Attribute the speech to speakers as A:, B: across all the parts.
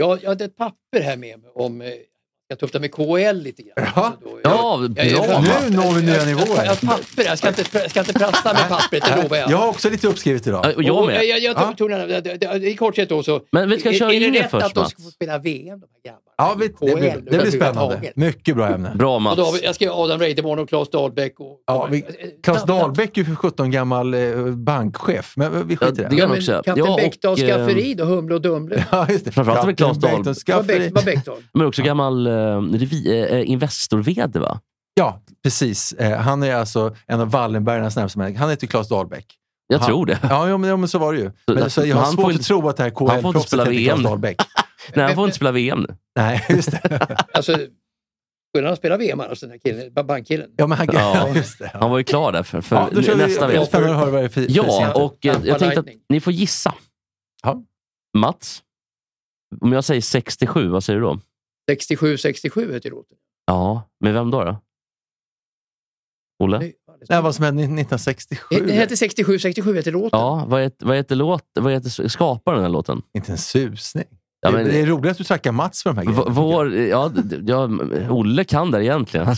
A: Jag, jag hade ett papper här med mig om... eh, Jag tuftar med KL lite grann.
B: Jaha.
A: Så då-
C: Ja,
A: jag- jag-
C: bra.
B: Nu når vi nya
A: jag- jag-
B: nivåer.
A: Jag, jag, papper, jag, ska inte, jag ska inte prasta med pappret, det lovar jag.
B: Jag har också lite uppskrivet
C: Ja,
B: idag.
C: och jag
A: Och eh, Jag,
C: med.
A: jag, jag tog, tog den här, det- det- det- I korthet då så...
C: Men vi ska
A: är,
C: köra
A: är det
C: in det
A: rätt
C: först,
A: att de ska
C: Mats?
A: få spela VM, de här grabbarna?
B: Ja, vi, det,
A: KL,
B: blir, det blir spännande.
A: överhuvudtaget.
B: Mycket bra ämne.
C: Bra
A: Och då har
C: Mats.
A: vi, jag ska göra Adam Reideborn och Claes Dahlbäck. Och, Eh,
B: Ja, vi, Claes Dahlbäck är ju för 17 gammal eh, bankchef, men vi
C: Ja,
B: skiter i
C: det
B: det.
C: kan
A: Ja,
C: man
A: men
C: också säga.
A: Kapten
C: Ja, och,
A: Bäckdahls
C: eh,
A: skafferi då, Humle och Dumle.
B: Ja, just det.
C: Framförallt med Claes
B: Kapten
C: Dahl-
B: Bengtssons
A: Vad
B: skafferi.
A: Bäck- vad Bäckdahl?
C: Men också gammal eh, revi- eh, eh, Investor-VD va?
B: Ja, precis. Eh, han är alltså en av Wallenbergarnas närmaste män. Han heter Claes Dahlbäck.
C: Jag
B: Ja.
C: tror det.
B: Ja, jo, men, jo, men så var det ju. Men, så, jag har
C: Han får
B: svårt
C: inte-
B: att tro att det här
C: får inte
B: KL-proffset
C: spela
B: heter Claes
C: VM.
B: Dahlbäck.
C: Nej, han får inte spela VM nu.
B: Nej, just det.
A: Alltså, skulle han spela VM annars, den här killen? ba- Bankkillen?
B: Ja, men han,
C: Ja.
B: ja. just det.
C: Han var ju klar där för, för
B: Ja, då kör vi-
C: nästa
B: det
C: VM.
B: är Spännande att höra vad det är för-
C: Ja,
B: för-
C: och eh, jag tänkte att
A: Lightning.
C: ni får gissa.
B: Ja.
C: Mats, om jag säger 67, vad säger du då?
A: 67-67 heter låten.
C: Ja, men vem då? då? Olle?
A: Nu-
B: Det här var som hände 1967.
A: Den heter 67-67 heter låten.
C: Ja, vad heter, vad heter, låt, vad heter skaparen av den här låten?
B: Inte en susning.
C: Ja,
B: det, det är
C: men,
B: roligt att du tackar Mats för de här
C: v-
B: grejerna.
C: vår, ja, d- ja, Olle kan där egentligen.
B: det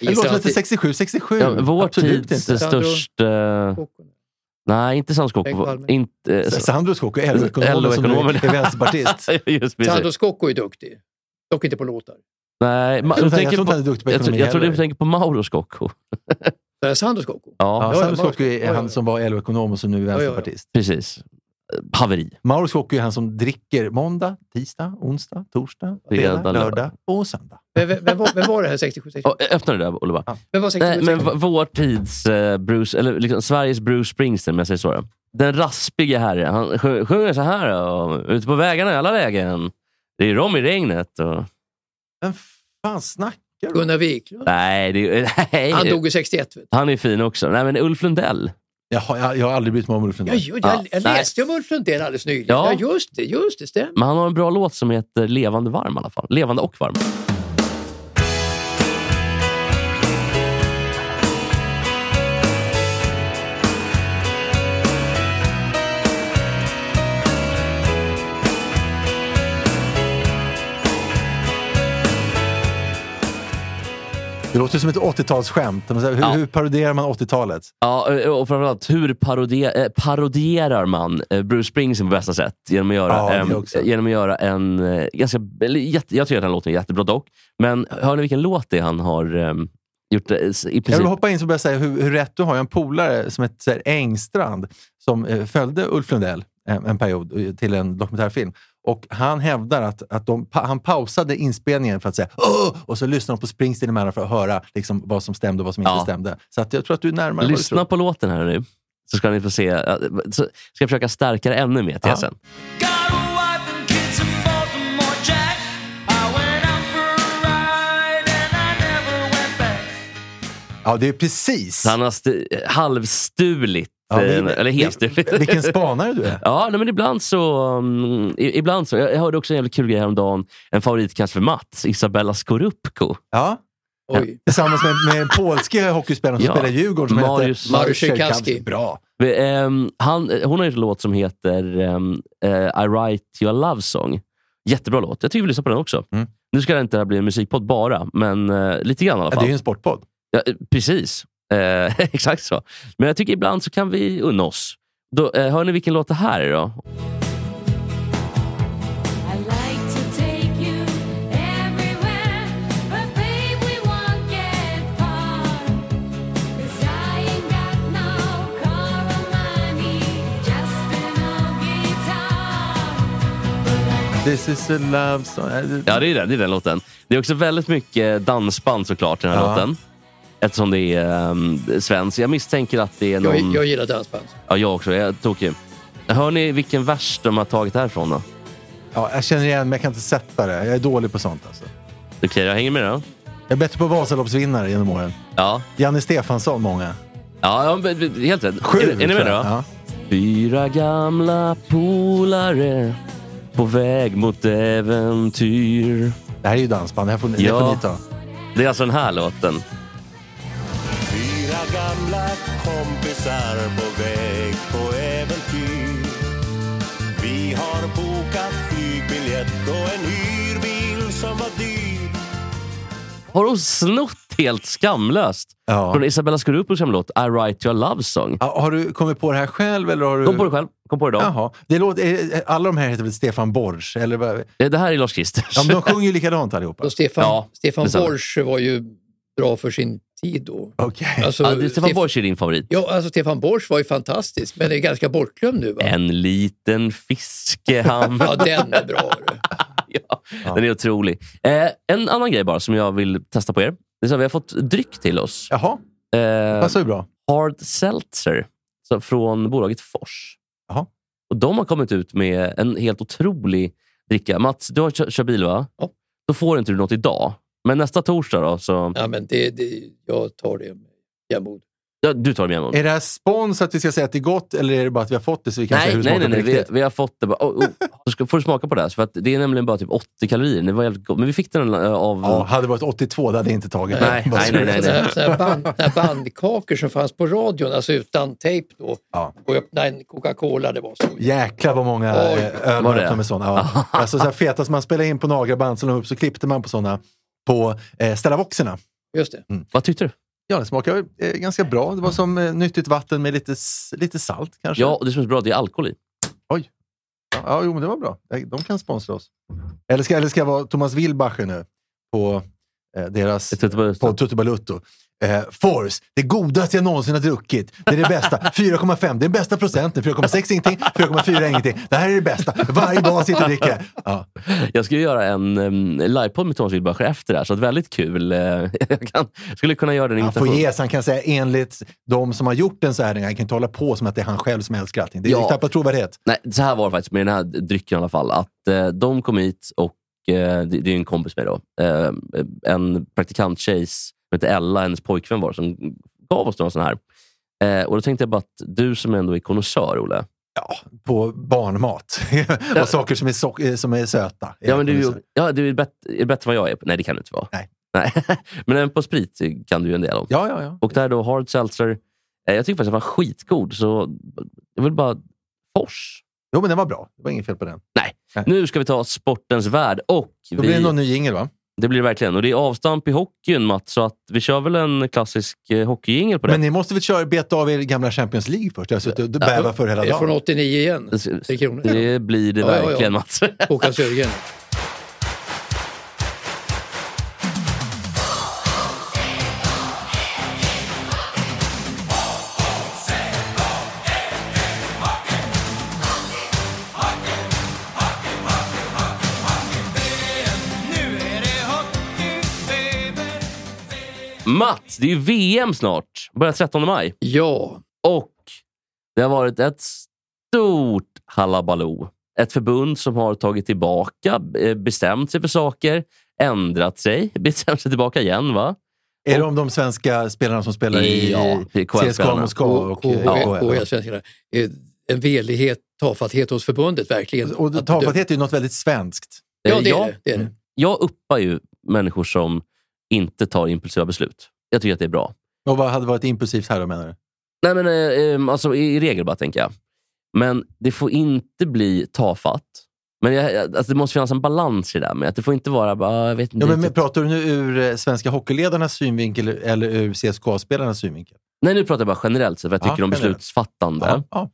A: Gissa
B: låter
A: att
B: lite 67, 67.
C: Ja, vår
B: Alltså, Absolut
C: tids
B: inte.
A: Sandro-
C: största... nej, inte Sandro
A: Bengt
C: Skocko.
A: Palme.
C: Inte, eh,
B: Sandro Skocko, LO-ekonomen som nu
C: LO-ekonomen.
B: är vänsterpartist.
C: just precis.
A: Sandro Scocco är duktig. Dock inte på låtar.
C: Nej, ma-
B: Jag tror
C: jag,
B: inte- jag tror
C: tänker
B: inte
C: på,
B: han är duktig på
C: jag, tror-
B: ekonomi
C: jag tror du
B: heller.
C: tänker på Mauro Scocco.
A: Eh, Sandro Scocco.
C: Ja,
B: Ja,
A: Ja, Mauro
B: Sandro Scocco är
A: Scocco,
B: han
A: ja.
B: som var LO-ekonom och som nu är
A: ja, ja.
B: vänsterpartist.
C: precis. Eh, Haveri.
B: Mauro Scocco är han som dricker måndag, tisdag, onsdag, torsdag,
C: Fredag,
B: fredag, lördag och söndag.
A: Vem, vem, vem, var, vem var det här 67-67?
C: Oh, öppna det där, Olle. bara.
A: Vem var
C: Nej,
A: 67-67?
C: men v- vår tids eh, Bruce, eller liksom Sveriges Bruce Springsteen, om jag säger så. då. Den raspige herren. Han sj- sjunger så här. då. Ute på vägarna i alla lägen. Det är rom i regnet. Och...
B: Vem fan snackar du om?
A: Gunnar Wiklund.
C: Nej, det är... nej.
A: Han dog ju 61. Vet du.
C: Han är fin också. Nej, men Ulf Lundell.
B: Jag har, jag, jag har aldrig brytt mig om Ulf
A: Ja,
B: Lundell.
A: ju- jag, jag
C: nej.
A: läste ju om Ulf Lundell alldeles nyligen.
C: Ja.
A: Ja. just det. Just det. Stämmer.
C: Men han har en bra låt som heter Levande varm i alla fall. Levande och varm.
B: Det låter som ett 80-talsskämt. De säger, Hur,
C: Ja.
B: hur parodierar man 80-talet?
C: Ja, eh, och framförallt, hur parodi- eh, parodierar man eh, Bruce Springsteen på bästa sätt? Genom att göra,
B: Ja, det
C: ehm,
B: också.
C: eh, genom att göra en... eh, Ganska, eller, jätte, jag tycker att den låten är jättebra dock. Men hör ni vilken låt det är han har ehm, gjort? eh, s- I
B: Jag
C: princip.
B: vill hoppa in så börjar säga hur, hur rätt du har. Jag har en polare som heter så här, Engstrand som eh, följde Ulf Lundell eh, en period eh, till en dokumentärfilm. Och Han hävdar att, att de, pa, han pausade inspelningen för att säga Åh! och så lyssnade de på Springsteen emellan för att höra liksom, vad som stämde och vad som inte
C: Ja.
B: stämde. Så att jag tror att du är närmare vad du
C: Lyssna på låten här nu. Så ska ni få se. eh, Så ska jag försöka stärka det ännu mer till
B: Ja.
C: sen.
D: Got a wife and kids in Baltimore, Jack. I went out for a ride and I never went back.
B: tror. Ja, det är precis.
C: Han har stu- eh, halvstulit.
B: Ja,
C: eh,
B: vil-
C: eller helt
B: vil-
C: stulit.
B: Vilken spanare du är.
C: Ja, nej, men ibland så... mm, i- ibland så. Jag, jag hörde också en jävligt kul grej häromdagen. En favoritkanske för Mats, Isabella Skorupko.
B: Ja.
A: Oj.
B: Tillsammans med, med den polske hockeyspelaren som
C: Ja.
B: spelar i Djurgården som
C: Mariusz-
B: heter Mariusz
A: Mariusz
B: Sierkowski.
A: Sierkowski.
B: Bra.
C: Vi, ehm, han, eh, hon har ju en låt som heter ehm, eh, I write you a love song. Jättebra låt. Jag tycker vi lyssnar på den också.
B: Mm.
C: Nu ska det inte här bli en musikpodd bara, men eh, lite grann i
B: Ja,
C: alla
B: det är
C: fall.
B: ju en sportpodd.
C: Ja, eh, precis. Eh, exakt så. Men jag tycker ibland så kan vi unna oss. Då, eh, hör ni vilken låt det här är då?
E: I like to take you everywhere, but babe, we won't get far. 'Cause I ain't got no car or money, just an old guitar.
B: This is a love song.
C: Ja, det är den, det är den låten. Det är också väldigt mycket dansband såklart i den här
B: Ja.
C: låten. Eftersom det är um, svenskt. Jag misstänker att det är någon...
A: Jag, jag gillar dansband.
C: Ja, jag också. Jag är tokig. Hör ni vilken vers de har tagit härifrån då?
B: Ja, jag känner igen, men jag kan inte sätta det. Jag är dålig på sånt. Alltså.
C: Okej, jag hänger med då.
B: Jag är bättre på Vasaloppsvinnare genom åren.
C: Ja,
B: Janne Stefansson, många.
C: ja, ja men- men- helt rätt.
B: Sju,
C: är, är ni
B: tror
C: med då?
B: jag. Ja.
C: Fyra gamla polare på väg mot äventyr. Det
B: Det här är ju dansband. Det här får, det
C: Ja.
B: får ni ta.
C: Det är alltså den här låten.
F: Fyra gamla kompisar på väg på äventyr. Vi har bokat flygbiljett och en hyrbil som var dyr.
C: Har hon snott helt skamlöst
B: Ja.
C: från Isabella Scorupos gamla låt I write your love song?
B: Ja, Har du kommit på det här själv? Eller har du...
C: Kom på det själv. Kom på det idag.
B: Jaha. Det låter, är- alla de här heter väl Stefan Borsch? Eller vad?
C: Eh, Det här är Lars Kristers.
B: Ja, men de sjunger ju likadant allihopa.
A: Och Alltså, Stefan,
C: Ja,
A: Stefan
C: detsamma.
A: Borsch var ju bra för sin tid då.
B: Okej.
A: Alltså,
C: Ja, det- Stefan
A: Stef-
C: Borsch är din favorit.
A: Ja, alltså Stefan Borsch var ju fantastisk, men är ganska bortglömd nu. Va?
C: En liten fiskehamn.
A: Ja, den är bra. hörru.
C: ja, den är otrolig. Eh, en annan grej bara som jag vill testa på er. Det är så här, vi har fått dryck till oss.
B: Jaha,
C: Eh,
B: passar ju bra.
C: Hard Seltzer så från bolaget Fors.
B: Jaha.
C: Och De har kommit ut med en helt otrolig dricka. Mats, du har kö- kör bil va?
A: Ja.
C: Då får inte du något idag. Men nästa torsdag då? Så...
A: Ja, men det, det, jag tar det med jämnmod.
C: Ja, du tar det med imorgon.
B: Är det här spons att vi ska säga att det är gott eller är det bara att vi har fått det så vi kan säga
C: Nej,
B: hur
C: nej, nej,
B: smakar
C: nej.
B: på
C: Vi,
B: riktigt?
C: vi har fått det. Bara, oh, oh. Så ska, får du smaka på det här. För att det är nämligen bara typ 80 kalorier. Det var jävligt gott. Men vi fick den eh, av...
B: Ja, hade det varit 82, det hade jag inte tagit.
C: Nej,
B: Vad
C: nej,
B: sur.
C: nej, nej.
A: Såna här, såna här, band, såna här bandkakor som fanns på radion, alltså utan tejp då.
B: Ja.
A: Och öppna en Coca-Cola, det var så.
B: Jäklar vad många
A: Oj.
B: eh, öl
C: Var
B: man
C: det?
B: öppnar med sådana. Ja. Alltså så här feta som man spelade in på nagraband, så la man upp så klippte man på sådana på eh, Stellavoxerna.
A: Just det.
C: Vad tyckte du?
B: Ja, det smakade eh, ganska bra. Det var som eh, nyttigt vatten med lite, s- lite salt kanske.
C: Ja, och det som är så bra, det är alkohol i.
B: ja jo, men det var bra. Eh, De kan sponsra oss. Eller ska, eller ska jag vara Thomas Wilbacher nu på eh, deras
C: Det är inte bara-
B: podd Tutti Balutto. Eh, Force, det godaste jag någonsin har druckit. Det är det bästa. 4,5, det är den bästa procenten. 4,6 ingenting, 4,4 ingenting. Det här är det bästa. Varje dag sitter och dricker. Ja.
C: Jag ska ju göra en um, livepodd med Thomas Wilbacher efter det här, så att väldigt kul. eh, jag kan, skulle kunna göra den
B: Han får
C: imitationen.
B: ges, han kan säga enligt de som har gjort den så här. Han kan inte hålla på som att det är han själv som älskar allting. Det är
C: Ja.
B: ja. tappat trovärdighet.
C: Nej, så här var det faktiskt med den här drycken i alla fall. Att eh, De kom hit och eh, det, det är en kompis med då. Eh, en praktikanttjejs, som heter Ella, hennes pojkvän var som gav oss några sådana här. Eh, och Då tänkte jag bara att du som ändå är konnässör, Olle.
B: På barnmat och saker som är, sock- eh, som är söta.
C: Ja, men du, är ju- ja, du är, bättre, är bättre än vad jag är. Nej, det kan du inte vara.
B: Nej.
C: Nej. men även på sprit kan du ju en del om.
B: ja, ja, ja.
C: Och där då Hard Seltzer. eh, Jag tycker faktiskt att den var skitgod, så jag vill bara... Fors.
B: Jo, men den var bra. Det var inget fel på den.
C: Nu ska vi ta sportens värld. Och vi,
B: Då blir det någon ny jingel, va?
C: det blir det verkligen. Och det är avstamp i hockeyn, Mats, så att vi kör väl en klassisk eh, hockeyjingel på det.
B: Men ni måste väl köra, beta av er gamla Champions League först? Jag har suttit och bävat för hela
A: Är det från
B: dagen.
A: 89 igen? Tre kronor.
C: det blir det
A: Ja, ja, ja.
C: verkligen, Mats.
A: Håkan Sjögren.
C: Mats, det är ju VM snart. Börjar 13 maj.
A: Ja,
C: Och det har varit ett stort hallabaloo. Ett förbund som har tagit tillbaka, eh, bestämt sig för saker, ändrat sig, bestämt sig tillbaka igen. va?
B: Är det om de svenska spelarna som spelar i
C: Ja, det är KHL
B: CSKA
C: -spelarna.
B: Moskva och KHL?
A: KHL-svenskarna. En velighet, tafatthet hos förbundet, verkligen.
B: Och tafatthet är ju något väldigt svenskt.
A: Ja, det är
C: Eh, jag,
A: det. det, är det.
C: jag uppar ju människor som inte tar impulsiva beslut. Jag tycker att det är bra.
B: Och vad hade varit impulsivt här då, menar du?
C: Nej, men, eh, eh, alltså, i, I regel bara, tänker jag. Men det får inte bli tafatt. Men jag, jag- alltså, det måste finnas en balans i det där med att det får inte vara bara, "Ah, jag vet inte
B: Ja, men, men
C: riktigt."
B: pratar du nu ur eh, svenska hockeyledarnas synvinkel eller ur CSKA-spelarnas synvinkel?
C: Nej, nu pratar jag bara generellt sett, vad jag
B: Ja,
C: tycker om
B: generellt.
C: beslutsfattande.
B: Ja,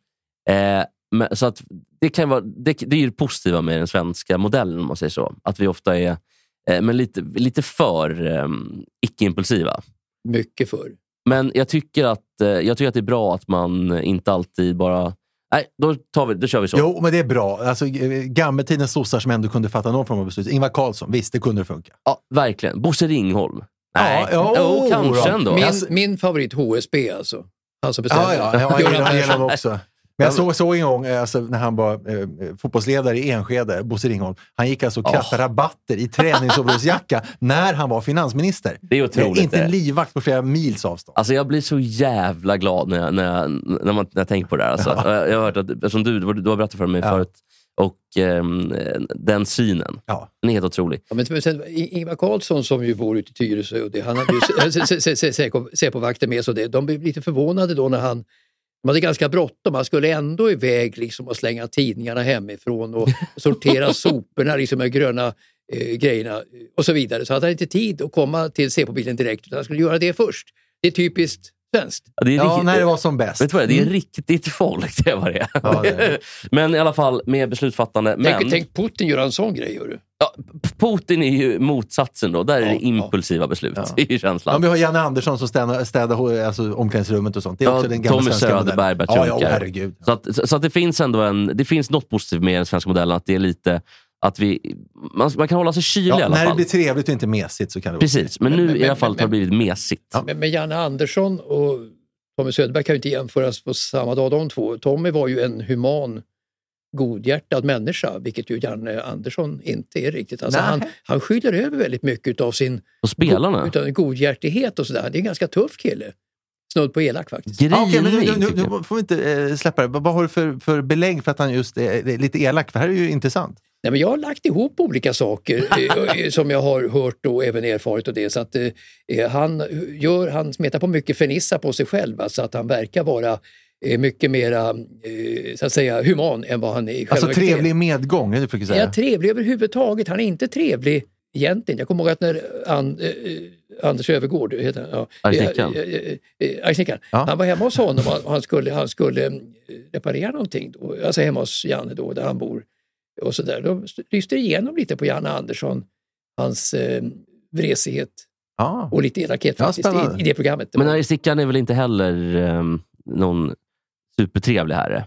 B: ja.
C: Eh, men, så att det, kan vara, det, det är ju det positiva med den svenska modellen, om man säger så. Att vi ofta är eh, men lite, lite för eh, icke-impulsiva.
A: Mycket förr.
C: Men jag tycker, att, eh, jag tycker att det är bra att man inte alltid bara... Nej, då, tar vi, då kör vi så.
B: Jo, men det är bra. Alltså, eh, gammeltidens sossar som ändå kunde fatta någon form av beslut. Ingvar Carlsson, visst, det kunde funka.
C: Ja, verkligen. Bosse Ringholm. Nej,
B: ja,
C: jo,
B: oh,
C: kanske
B: då.
C: ändå.
A: Min,
C: Alltså,
A: min favorit HSB alltså. Han som bestämde.
B: Ja, ja, ja, jag
A: Göran
B: gillar
A: Persson.
B: honom också. Men jag såg, såg en gång eh, alltså, när han var eh, fotbollsledare i Enskede, Bosse Ringholm. Han gick alltså och krattade rabatter i träningsoverallsjacka när han var finansminister.
C: Det är otroligt.
B: inte
C: det.
B: en livvakt på flera mils avstånd.
C: Alltså jag blir så jävla glad när jag, när jag, när man, när jag tänker på det där. Alltså. Jag, jag har hört att, som du, du har berättat för mig
B: Ja.
C: förut, och ehm, den synen.
B: Ja.
C: Den är helt otrolig.
A: Ja, men men sen, I- Ingvar Carlsson som ju bor ute i Tyresö, och det, han hade ju se- se- se- se- se- Säpovakter med sig. och det, De blev lite förvånade då när han de hade ganska bråttom. Han skulle ändå iväg liksom och slänga tidningarna hemifrån och sortera soporna, liksom de gröna eh, grejerna eh, och så vidare. Så han hade inte tid att komma till Säpobilen direkt, utan han skulle göra det först. Det är typiskt svenskt.
C: Ja, Det är
B: Ja,
C: riktigt-
B: när det var som bäst.
C: Vet du vad det är? Det är riktigt folk, det är vad det är.
B: Ja, det är
C: Men i alla fall med beslutsfattande. Men
A: Tänk, tänk Putin göra en sån grej, gör du.
C: Ja, P- Putin är ju motsatsen då. Där är
A: Ja,
C: det
A: ja.
C: impulsiva beslut,
B: Ja.
C: det är ju
B: Ja,
C: känslan.
B: vi har Janne Andersson som städar, städar ho- alltså, omklädningsrummet och sånt. Det är
C: Ja,
B: också den gamla
C: Tommy
B: svenska
C: Söderberg,
B: modellen.
C: Bert
B: Ja, ja,
C: Junker.
B: herregud.
C: Så, att, så- så att det finns ändå en, det finns något positivt med den svenska modellen. Att det är lite, att vi, man, man kan hålla sig kylig i
B: Ja,
C: alla
B: när det
C: fall.
B: blir trevligt och inte mesigt så kan det vara
C: Precis, men nu
A: Men- men-
C: i alla fall
A: men-
C: har det blivit mesigt.
B: Ja.
A: Men, men Janne Andersson och Tommy Söderberg kan ju inte jämföras på samma dag de två. Tommy var ju en human, godhjärtad människa, vilket ju Janne Andersson inte är riktigt. Alltså
B: Nej.
A: han, han skyller över väldigt mycket av sin
C: Och spelarna,
A: utav godhjärtighet och sådär. Det är en ganska tuff kille. Snudd på elak faktiskt.
C: grinig
B: Ja, okej, men nu, nu,
C: tycker
B: nu,
C: jag.
B: nu får vi inte eh, släppa det. Vad vad har du för, för belägg för att han just är, är lite elak? För det här är ju intressant.
A: Nej, men jag har lagt ihop olika saker eh, som jag har hört och även erfarit. Och det, så att, eh, han, gör, han smetar på mycket fernissa på sig själv, va, så att han verkar vara eh, mycket mera eh, så att säga, human än vad han är. i själva
B: Alltså
A: verket är.
B: trevlig medgång, det är det du försöker
A: Är
B: säga.
A: jag trevlig överhuvudtaget? Han är inte trevlig egentligen. Jag kommer ihåg att när An, eh, eh, Anders Övergård, heter han, ja,
C: Arkitekten.
A: eh, eh, eh, arkitekten,
B: Ja.
A: han var hemma hos honom och han skulle, han skulle eh, reparera någonting, då, alltså hemma hos Janne då, där han bor. Och så där. Då lyste det igenom lite på Janne Andersson, hans eh, vresighet
B: Ja.
A: och lite elakhet
B: Ja,
A: faktiskt
B: spännande.
A: i, i det programmet. Det
C: Men
A: var-
C: Harry Stickan är väl inte heller ehm, någon supertrevlig herre?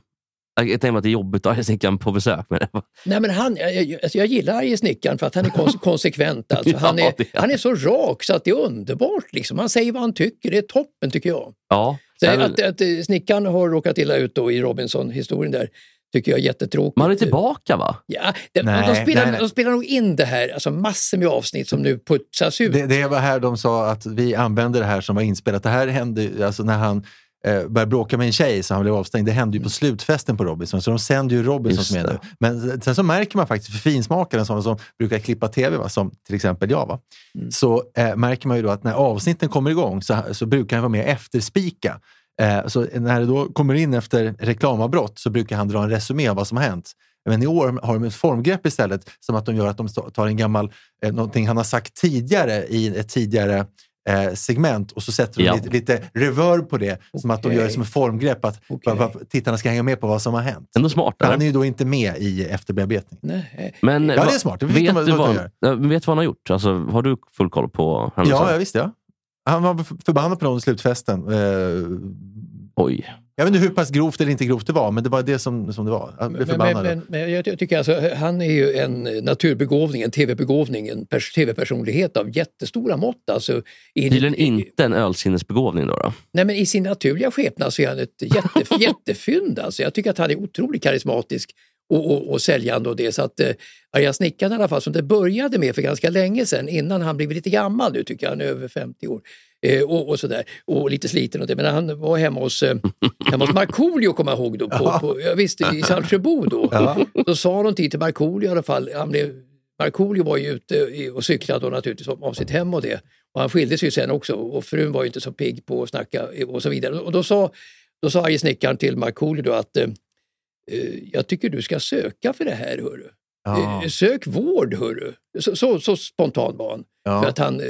C: Jag jag tänker mig att det är jobbigt att ha Harry Stickan på besök. Men
A: Nej, men han, jag, jag, alltså jag gillar Arje Snickaren för att han är konse- konsekvent. Alltså. Han,
C: Ja,
A: är,
C: det är han.
A: han är så rak så att det är underbart. Liksom. Han säger vad han tycker, det är toppen tycker jag.
C: ja,
A: Så
C: Nej, men-
A: att, att eh, Snickaren har råkat illa ut då i Robinson-historien där tycker jag är jättetråkigt.
C: man är tillbaka va?
A: Ja, de,
B: Nej,
A: de, spelar,
B: nej, nej.
A: de spelar nog in det här, alltså massor med avsnitt som nu putsas ut.
B: Det, det var här de sa att vi använde det här som var inspelat. Det här hände ju, alltså när han eh, började bråka med en tjej så han blev avstängd. Det hände ju på slutfesten på Robinson, så de sänder ju
C: Mm. Just
B: Robinson med nu.
C: det.
B: Men sen så märker man faktiskt, för finsmakare, sådana som brukar klippa tv, va, som till exempel jag, va?
C: Mm.
B: så eh, märker man ju då att när avsnitten kommer igång så, så brukar han vara med och efterspika. Eh, så när det då kommer in efter reklamavbrott så brukar han dra en resumé av vad som har hänt. Men i år har de ett formgrepp istället, som att de gör att de tar en gammal, eh, någonting han har sagt tidigare i ett tidigare eh, segment och så sätter de
C: Ja.
B: lite, lite reverb på det, som att de
A: Okej.
B: gör det som ett formgrepp, att
A: Okej.
B: va- va- tittarna ska hänga med på vad som har hänt.
C: Ändå smart. eller?
B: Han är ju då inte med i efterbearbetningen.
A: Nej.
C: Men,
B: Ja,
C: va-
B: det är smart. Det vet
C: vet,
B: man-
C: du
B: vad
C: vad,
B: man
C: ja, men vet du vad han har gjort? Alltså, har du full koll på händelsen?
B: Ja, ja, visst ja. Han var f- förbannad på någon i slutfesten. Eh,
C: Oj.
B: Jag vet inte hur pass grovt eller inte grovt det var, men det var det som, som det var. Han blev
A: Men, men,
B: förbannad.
A: men, men jag, jag tycker alltså, han är ju en eh, naturbegåvning, en tv-begåvning, en pers- tv-personlighet av jättestora mått. Alltså, i,
C: Tydligen
A: i-
C: inte en ölsinnesbegåvning då. då.
A: Nej, men I sin naturliga skepnad så är han ett jätte, jättefynd. Alltså, jag tycker att han är otroligt karismatisk och, och, och säljande. Och det, så att, eh, Arga snickaren i alla fall, som det började med för ganska länge sedan, innan han blev lite gammal, nu tycker jag han är över 50 år, eh, och, och sådär, och lite sliten och det. Men han var hemma hos, eh, hemma hos Markoolio, kommer jag ihåg, då, på, på, ja, visst, i Saltsjöbo då.
B: Ja.
A: Då sa någonting till Markoolio i alla fall. Han blev, Markoolio var ju ute i- och cyklade och naturligtvis av sitt hem och det. Och han skildes ju sen också och frun var ju inte så pigg på att snacka och så vidare. Och då sa, då sa arge snickaren till Markoolio då att eh, eh, jag tycker du ska söka för det här, hörru.
B: ja.
A: Eh, Sök vård, hörru. Så, så, så spontan var han. För
B: Ja.
A: att han eh,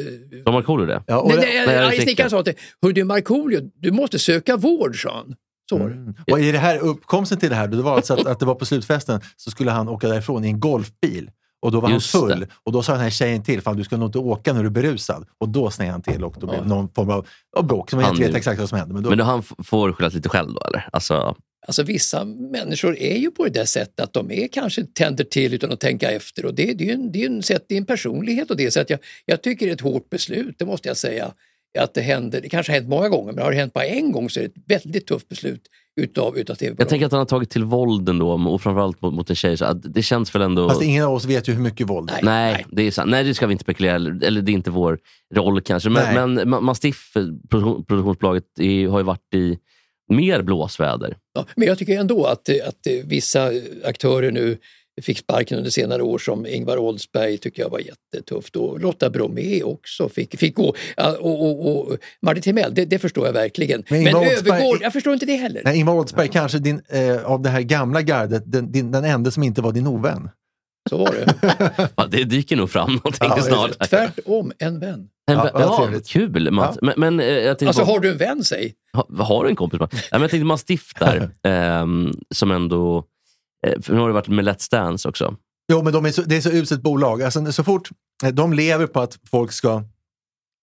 C: De har cool i det.
B: Ja, och
A: nej,
B: det-
A: nej,
C: nej,
A: arge
C: ursäkta.
A: snickaren sa till Hör du Markoolio, du måste söka vård, sa han. Så var det.
B: Mm. Och i det här uppkomsten till det här, då det var alltså att, att det var på slutfesten, så skulle han åka därifrån i en golfbil. Och då var
C: Just
B: han full.
C: det.
B: Och då sa den här tjejen till, fan du ska nog inte åka när du är berusad. Och då sned han till och då blev det någon form av, av bråk som man
C: Han
B: inte vet
C: nu.
B: exakt vad som hände. Men då,
C: Men då han f- får skylla lite själv då, eller? Alltså,
A: Alltså vissa människor är ju på det där sättet att de är kanske tänder till utan att tänka efter och det, det är ju en, det är ju en, sätt, det är en personlighet och det. Så att jag, jag tycker det är ett hårt beslut, det måste jag säga. att det händer. Det kanske har hänt många gånger, men har det hänt bara en gång så är det ett väldigt tufft beslut utav, utav
C: Jag
A: tv-bolaget.
C: tänker att han har tagit till våld ändå, och framförallt mot, mot en tjej. Så att det känns väl ändå...
B: Fast ingen av oss vet ju hur mycket våld det är.
A: Nej.
C: Nej, det är sant. Nej, det ska vi inte spekulera. Eller det är inte vår roll kanske.
B: Nej.
C: Men, men Ma- Mastiff, eh, produktion- produktionsbolaget, är, har ju varit i mer blåsväder.
A: Ja, men jag tycker ändå att, eh, att eh, vissa aktörer nu fick sparken under senare år som Ingvar Oldsberg tycker jag var jättetufft och Lotta Bromé också fick, fick gå. Ja, Och, och, och Martin Timell, det, det förstår jag verkligen.
B: Men
A: Men,
B: Ingvar Oldsberg-
A: övergår, jag förstår inte det heller.
B: Nej, Ingvar Oldsberg kanske din, eh, av det här gamla gardet, den, din, den enda som inte var din ovän.
A: Så var det.
C: Ja, Det dyker nog fram någonting
B: Ja,
C: snart.
B: just
A: Tvärtom, en vän.
C: En,
B: Ja,
C: ja,
B: vad trevligt.
C: kul Mats. Men, men eh, jag tänkte,
A: Alltså
C: bara-
A: har du en vän, säg.
C: ha, har du en kompis? Mats? Nej, men jag tänkte Mastiff där, ehm, som ändå... eh, För nu har det varit med Let's Dance också.
B: Jo, men de är så, det är så uselt bolag. Alltså, så fort eh, de lever på att folk ska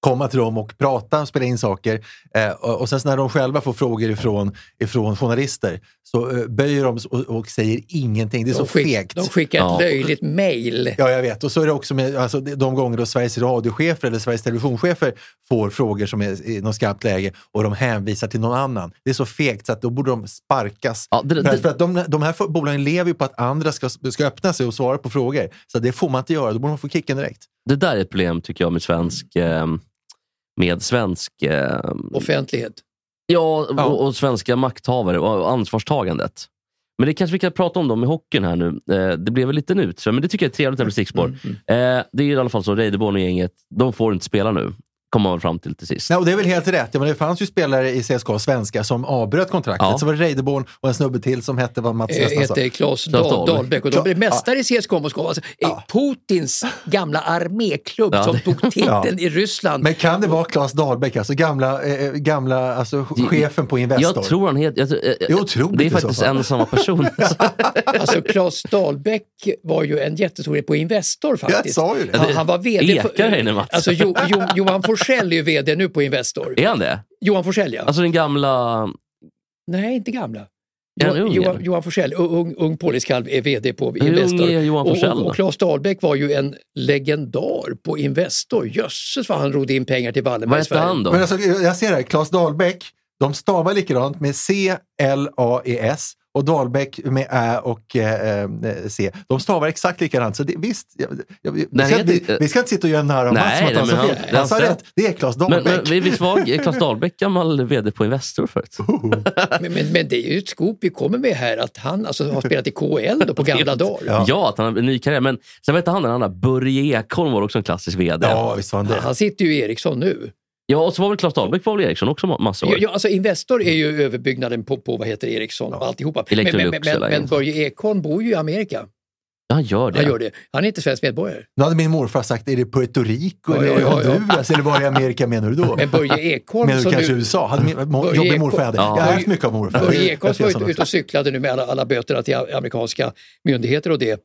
B: komma till dem och prata och spela in saker. Eh, och, och sen så när de själva får frågor ifrån, ifrån journalister så eh, böjer de s- och, och säger ingenting. Det är så
A: De, skick,
B: fegt.
A: de skickar ett
C: Ja.
A: löjligt mejl.
B: Ja, jag vet. Och så är det också med alltså, de gånger då Sveriges radiochefer eller Sveriges televisionschefer får frågor som är i något skarpt läge och de hänvisar till någon annan. Det är så fegt så att då borde de sparkas.
C: Ja, det-
B: för, att,
C: det-
B: för att de, de här bolagen lever ju på att andra ska, ska öppna sig och svara på frågor. Så det får man inte göra. Då borde man få kicken direkt.
C: Det där är ett problem tycker jag med svensk... ehm, med svensk... ehm,
A: Offentlighet.
C: Ja,
B: Ja.
C: Och, och svenska makthavare och ansvarstagandet. Men det kanske vi kan prata om dem i hockeyn här nu. Eh, det blev väl lite ut, så- men det tycker jag är ett trevligt här på stickspår. Eh, det är ju i alla fall så, Reideborn och gänget, de får inte spela nu. Kommer man väl fram till till sist.
B: Nej, och det är väl helt rätt. Ja, men det fanns ju spelare i CSKA, svenska, som avbröt kontraktet.
C: Ja.
B: Så var det Reideborn och en snubbe till som hette vad Mats
A: Eh,
B: Nästan sa.
A: heter Claes
C: Claes
A: Dahl,
C: Dahl.
A: Dahlbäck och de
B: Kla-
A: blev mästare i CSKA Moskva. Alltså, eh, Putins gamla arméklubb
C: Ja,
A: som
C: det-
A: tog titeln i Ryssland.
B: Men kan det vara Claes Dahlbäck, alltså gamla, eh, gamla alltså, chefen på Investor?
C: Jag tror han heter... Jag, tror- eh, eh,
B: Det är otroligt
C: det
B: i
C: är
B: så
C: faktiskt
B: fall.
C: en och samma person.
A: Alltså Claes Dahlbäck var ju en jättestor på Investor faktiskt.
B: Jag sa ju det.
A: Han, han var VD.
C: Ekar här inne, Mats.
A: alltså, jo, jo, Johan Forsell är ju VD nu på Investor.
C: är han det?
A: Johan Forsell ja.
C: Alltså den gamla...
A: Nej, inte gamla.
C: Är han
A: Jo-
C: ung,
A: Johan,
C: eller?
A: Johan Forsell, u- ung, ung poliskalv, är VD på
C: ung
A: Investor.
C: är Johan
A: Och-
C: Forsell
A: och,
C: då?
A: och Claes Dahlbäck var ju en legendar på Investor. Jösses vad han rodde in pengar till
C: Vad
A: Wallenbergs
C: hette han då?
B: Men alltså, jag ser här, Claes Dahlbäck, de stavar likadant med C-L-A-E-S E, och Dahlbäck med Ä och eh, eh, C. De stavar exakt likadant. Så det, visst, jag, jag, vi,
C: Nej,
B: ska
C: jag
B: inte,
C: tycker-
B: vi ska inte sitta och göra narr av
C: Nej,
B: Mats som att han
C: nej,
B: sa
C: men
B: fel.
C: han-
B: Han sa
C: han-
B: rätt, det är Claes
C: Men,
B: Dahlbäck.
C: men, visst var Claes Dahlbäck gammal VD på Investor förut?
A: Men, men, men det är ju ett scoop vi kommer med här att han alltså, har spelat i KL då, på gamla dagar.
C: Ja, att han har en ny karriär. Men sen vet han den andra, Börje Ekholm var också en klassisk VD.
B: ja, visst var han det.
A: Han sitter ju i Ericsson nu.
C: Ja, och så var väl Claes Dahlbäck var väl Eriksson också ma- massa år?
A: Ja, ja, alltså Investor är ju överbyggnaden på, på vad heter det, Ericsson och alltihopa. Men, men,
C: Electrolux
A: men,
C: eller
A: men
C: något.
A: Börje Ekholm bor ju i Amerika.
C: Ja, han gör det.
A: Han gör det. Han är inte svensk medborgare.
B: Nu hade min morfar sagt, är det Puerto Rico
A: Ja,
B: eller
A: ja, ja, ja.
B: Honduras eller var i Amerika menar du då?
A: Men Börje Ekholm
B: Menar du
A: som
B: kanske
A: nu...
B: USA? Hade min, mo,
A: Börje
B: jobbig
A: Ekholm-
B: morfar jag hade.
C: Ja.
B: Jag har haft mycket av morfar.
A: Börje Ekholm som
B: Jag ser
A: var
B: sånt
A: ute, ute
B: också.
A: och cyklade nu med alla, alla böterna till amerikanska myndigheter och det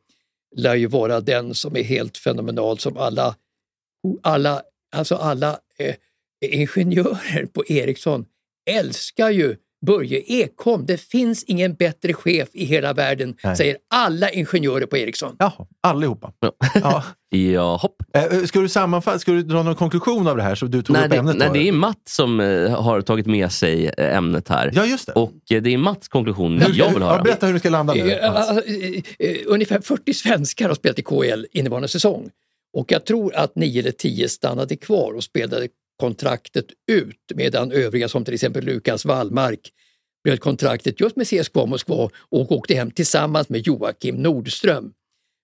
A: lär ju vara den som är helt fenomenal som alla, alla, alltså alla eh, ingenjörer på Ericsson älskar ju Börje Ekholm. Det finns ingen bättre chef i hela världen,
B: Nej.
A: säger alla ingenjörer på Ericsson.
B: Jaha, allihopa. Ja.
C: Ja, hopp.
B: Eh, Ska du sammanfatta, ska du dra någon konklusion av det här som du tog
C: Nej,
B: upp
C: det,
B: ämnet?
C: nej,
B: då?
C: det är Matt som eh, har tagit med sig eh, ämnet här.
B: Ja, just det.
C: Och eh, det är Matts konklusion
B: Hur-
C: jag vill
B: Ja,
C: höra.
B: berätta hur du ska landa nu.
A: Eh,
B: Mats.
A: alltså, eh, eh, Ungefär 40 svenskar har spelat i KL innevarande säsong. Och jag tror att 9 eller 10 stannade kvar och spelade kontraktet ut medan övriga som till exempel Lukas Wallmark bröt kontraktet just med CSKA Moskva och åkte hem tillsammans med Joakim Nordström.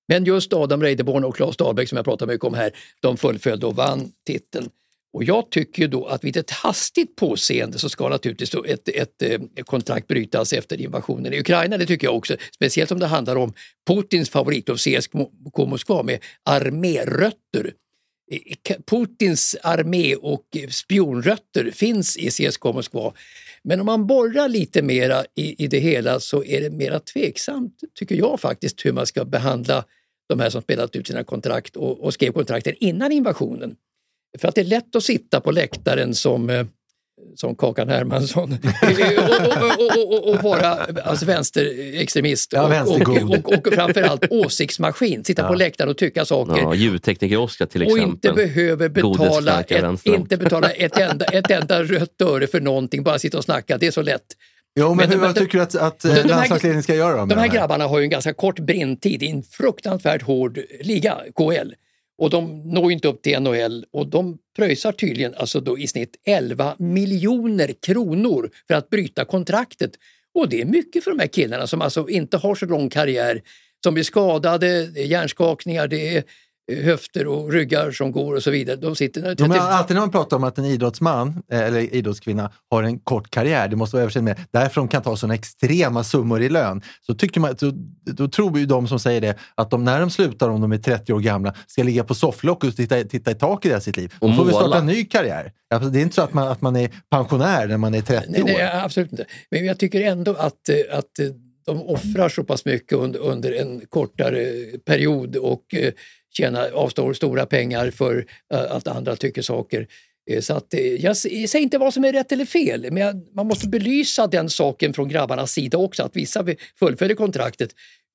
A: Men just Adam Reideborn och Claes Dahlbäck som jag pratar mycket om här, de fullföljde och vann titeln. Och jag tycker ju då att vid ett hastigt påseende så ska naturligtvis då ett, ett, eh, kontrakt brytas efter invasionen i Ukraina, det tycker jag också. Speciellt om det handlar om Putins favoritklubb CSKA Moskva med armérötter. Eh, K- Putins armé och eh, spionrötter finns i CSKA Moskva. Men om man borrar lite mera i, i det hela så är det mera tveksamt, tycker jag faktiskt, hur man ska behandla de här som spelat ut sina kontrakt och, och skrev kontrakten innan invasionen. För att det är lätt att sitta på läktaren som eh, som Kakan Hermansson och, och, och, och, och vara alltså, vänsterextremist
B: Ja,
A: och,
B: vänstergod.
A: och, och, och framförallt åsiktsmaskin. Sitta på
B: Ja.
A: läktaren och tycka saker
C: Ja, ljudtekniker-Oskar till
A: och
C: exempel.
A: inte behöver betala,
C: Godisfläkar
A: ett,
C: vänster om.
A: inte betala ett, enda, ett enda rött öre för någonting, bara sitta och snacka. Det är så lätt.
B: Jo, men,
A: Men-
B: hur,
A: men-
B: vad tycker du att, att eh,
A: de här-
B: landslagsledningen ska göra då? med
A: De här
B: det
A: grabbarna har ju en ganska kort brintid i en fruktansvärt hård liga, KL. Och de når ju inte upp till NHL och de pröjsar tydligen alltså då i snitt 11 miljoner kronor för att bryta kontraktet. Och det är mycket för de här killarna som alltså inte har så lång karriär. som blir skadade, det är hjärnskakningar, det är eh, höfter och ryggar som går och så vidare. De sitter...
B: Jo, men alltid när man pratar om att en idrottsman eh, eller idrottskvinna har en kort karriär, det måste vara översatt med, därför de kan ta sådana extrema summor i lön. Så tycker man, då, då tror ju de som säger det att de, när de slutar, om de är 30 år gamla, ska ligga på sofflock och titta, titta i taket i sitt liv.
C: Och
B: Då får vi
C: måla.
B: starta en ny karriär. Ja, för Det är inte så att man, att man är pensionär när man är 30
A: Nej,
B: år.
A: nej, absolut inte. Men jag tycker ändå att, eh, att eh, de offrar så pass mycket under, under en kortare period och eh, tjänar, avstår stora pengar för eh, att andra tycker saker. Eh, Så att, eh, jag s- säger inte vad som är rätt eller fel, men jag- man måste belysa den saken från grabbarnas sida också, att vissa vi- fullföljer kontraktet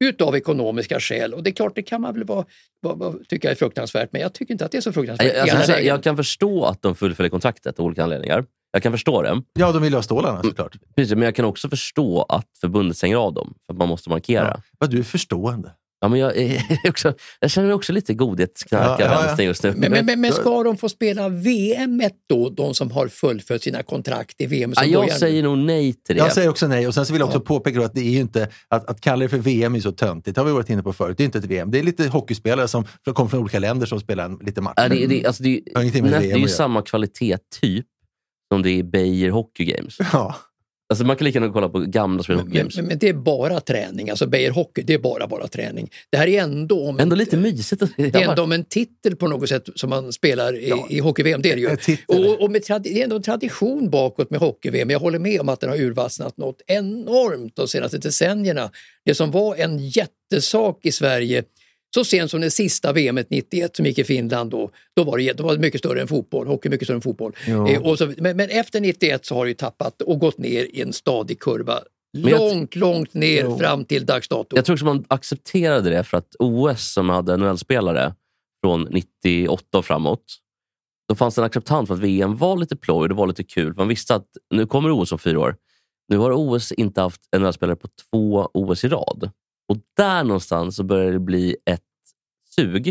A: utav ekonomiska skäl. Och det är klart, det kan man väl vara, vara, vara, tycka är fruktansvärt, men jag tycker inte att det är så fruktansvärt.
C: Jag,
A: i alla
C: alltså, jag,
A: lägen.
C: jag kan förstå att de fullföljer kontraktet av olika anledningar. Jag kan förstå det.
B: Ja, de vill ju ha stålarna
C: Mm.
B: såklart.
C: Precis, men jag kan också förstå att förbundet stänger av dem. För att man måste markera. Ja.
B: Vad du är förstående.
C: men jag, är också, jag känner mig också lite godhetsknarkar
B: Ja, ja, ja.
C: vänster just nu.
A: Men, men, men, men ska de få spela VM et då, de som har fullföljt sina kontrakt i VM
C: ja,
A: som
C: jag
A: börjar?
C: säger nog nej till det.
B: Jag säger också nej. Och sen så vill jag också påpeka då att det är ju inte, att, att kalla det för VM är så töntigt. Det har vi varit inne på förut. Det är inte ett VM. Det är lite hockeyspelare som som kommer från olika länder som spelar en, lite match.
C: Ja, det, det, alltså, det, är ju-
B: har ingenting med
C: nä-
B: VM
C: det är ju
B: att göra.
C: samma kvalitet typ som det är i Beijer Hockey Games.
B: Ja.
C: Alltså, man kan lika gärna kolla på gamla Sweden Hockey
A: Men,
C: Games.
A: men, men det är bara träning. Alltså Beijer Hockey, det är bara, bara träning. Det här är ändå om,
C: Ändå lite mysigt. att-
A: det är ändå om en titel på något sätt som man spelar i, i hockey-VM. Det är det ju.
B: en titel.
A: Och, och med tradi- det är ändå en tradition bakåt med hockey-VM. Jag håller med om att den har urvattnat något enormt de senaste decennierna. Det som var en jättesak i Sverige så sent som det sista VM 91 som gick i Finland då, då var det, jä- då var det mycket större än fotboll. Hockey mycket större än fotboll. Eh, och så, men, men efter 91 så har det ju tappat och gått ner i en stadig kurva.
C: jag-
A: Långt, långt ner
B: Jo.
A: fram till dags dato.
C: Jag tror också man accepterade det för att OS som hade NHL-spelare från 98 och framåt. Då fanns det en acceptans för att VM var lite ploj och det var lite kul. Man visste att nu kommer OS om fyra år. Nu har OS inte haft NHL-spelare på två OS i rad. Och där någonstans så börjar det bli ett sug.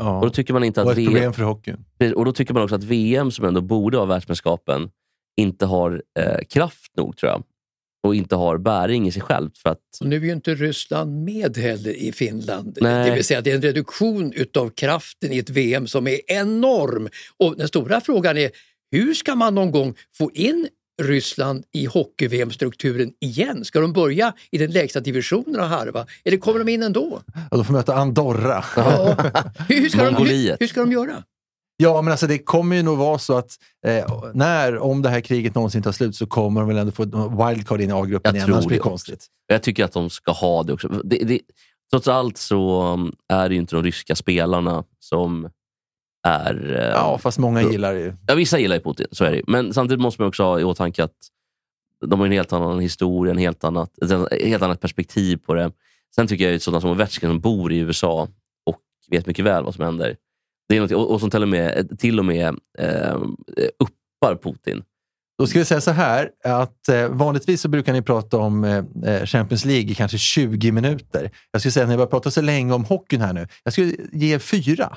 C: Och då
B: Ja.
C: tycker man inte
B: Och ett
C: att VM
B: problem för hockeyn.
C: Precis, Och då tycker man också att VM, som ändå borde vara världsmästerskapen, inte har eh, kraft nog, tror jag. Och inte har bäring i sig självt. För att,
A: Och nu är ju inte Ryssland med heller i Finland.
C: Nej.
A: Det vill säga det är en reduktion utav kraften i ett VM som är enorm. Och den stora frågan är hur ska man någon gång få in Ryssland i hockey-VM-strukturen igen? Ska de börja i den lägsta divisionen och harva? Eller kommer de in ändå?
B: Ja, de får möta Andorra.
A: Ja. Hur, hur, ska de, hur,
C: Mongoliet.
A: hur ska de göra?
B: Ja, men alltså det kommer ju nog vara så att eh, när, om det här kriget någonsin tar slut, så kommer de väl ändå få ett wildcard in i A-gruppen
C: Jag
B: igen.
C: tror
B: Annars blir det
C: det också.
B: konstigt.
C: jag tycker att de ska ha det också. Det, det, trots allt så um, är det ju inte de ryska spelarna som är... eh,
B: Ja, fast många gillar det ju.
C: Ja, vissa gillar ju Putin, så är det ju. Men samtidigt måste man också ha i åtanke att de har en helt annan historia, en helt annat, ett helt annat perspektiv på det. Sen tycker jag ju sådana som Ovechkin som bor i USA och vet mycket väl vad som händer. Det är något, och, och som till och med, till och med eh, uppar Putin.
B: Då ska vi säga så här, att eh, vanligtvis så brukar ni prata om eh, Champions League i kanske 20 minuter. Jag skulle säga att ni har börjat prata så länge om hockeyn här nu. Jag skulle ge er fyra.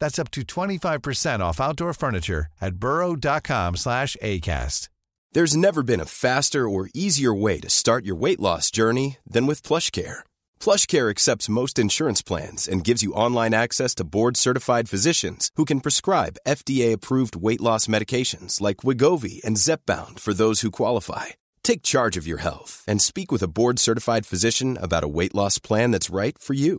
G: That's up to 25% off outdoor furniture at burrow.com/acast.
H: There's never been a faster or easier way to start your weight loss journey than with PlushCare. PlushCare accepts most insurance plans and gives you online access to board-certified physicians who can prescribe FDA-approved weight loss medications like Wigovi and Zepbound for those who qualify. Take charge of your health and speak with a board-certified physician about a weight loss plan that's right for you.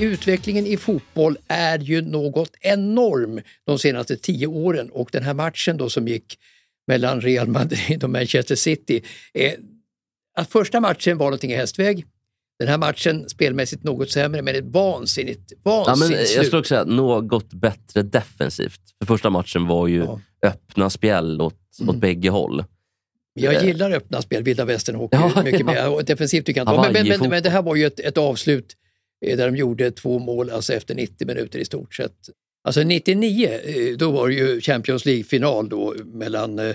A: Utvecklingen i fotboll är ju något enorm de senaste tio åren och den här matchen då som gick mellan Real Madrid och Manchester City. Eh, att första matchen var någonting i hästväg. Den här matchen spelmässigt något sämre men ett vansinnigt,
C: Ja, men
A: vansinnigt
C: jag
A: slut.
C: skulle också säga något bättre defensivt. För första matchen var ju
A: Ja. Mm.
C: öppna spjäll åt, åt bägge håll.
A: Jag gillar öppna spel, vilda västern-hockey
C: Eh, Ja,
A: mycket
C: ja.
A: mer. Och defensivt tycker jag inte om. men, men, men,
C: Hawaii-fotboll.
A: men det här var ju ett, ett avslut eh, där de gjorde två mål alltså efter 90 minuter i stort sett. Alltså 99, eh, då var det ju Champions League-final då mellan eh,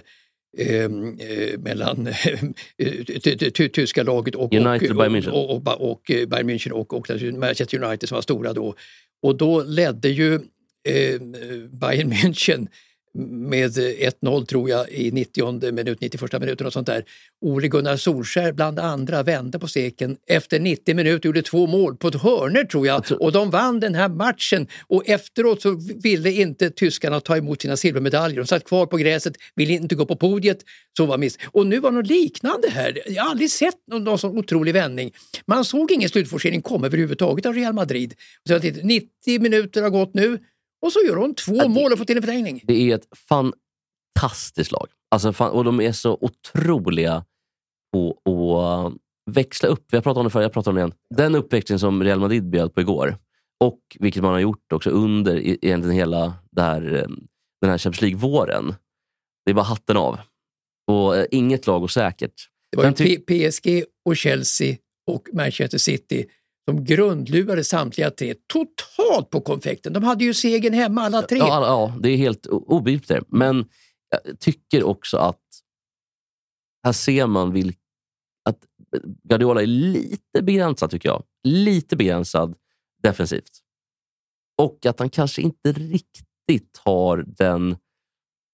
A: ehm, eh, mellan ty- ty- ty- tyska laget och,
C: United
A: och,
C: Bayern München.
A: och, och, och, och eh, Bayern München och, och naturligtvis Manchester United som var stora då. Och då ledde ju eh, Bayern München med eh, 1-0 tror jag i 90 minut, 91 minuten och sånt där. Ole Gunnar Solskär bland andra vände på steken efter 90 minuter, gjorde två mål på ett hörne tror jag och de vann den här matchen och efteråt så ville inte tyskarna ta emot sina silvermedaljer. De satt kvar på gräset, ville inte gå på podiet. Så var miss. Och nu var något liknande här. Jag har aldrig sett någon, någon sån otrolig vändning. Man såg ingen slutforcering komma överhuvudtaget av Real Madrid. Så jag tänkte, 90 minuter har gått nu och så gör de två
C: det-
A: mål och får till en förlängning.
C: Det är ett fantastiskt lag. Alltså fan, och de är så otroliga på att växla upp. Jag pratade om det förr, jag pratar om det igen. Den uppväxten som Real Madrid bjöd på igår och vilket man har gjort också under i- egentligen hela det här, eh, den här Champions League-våren. Det är bara hatten av. Och eh, inget lag och säkert.
A: Det var ju
C: Men ty-
A: P- PSG och Chelsea och Manchester City som grundlurade samtliga tre totalt på konfekten. De hade ju segern hemma alla tre.
C: Ja, alla- ja det är helt o- obegripligt. det. Men jag tycker också att här ser man vilk, att Guardiola är lite begränsad, tycker jag. Lite begränsad defensivt. Och att han kanske inte riktigt har den...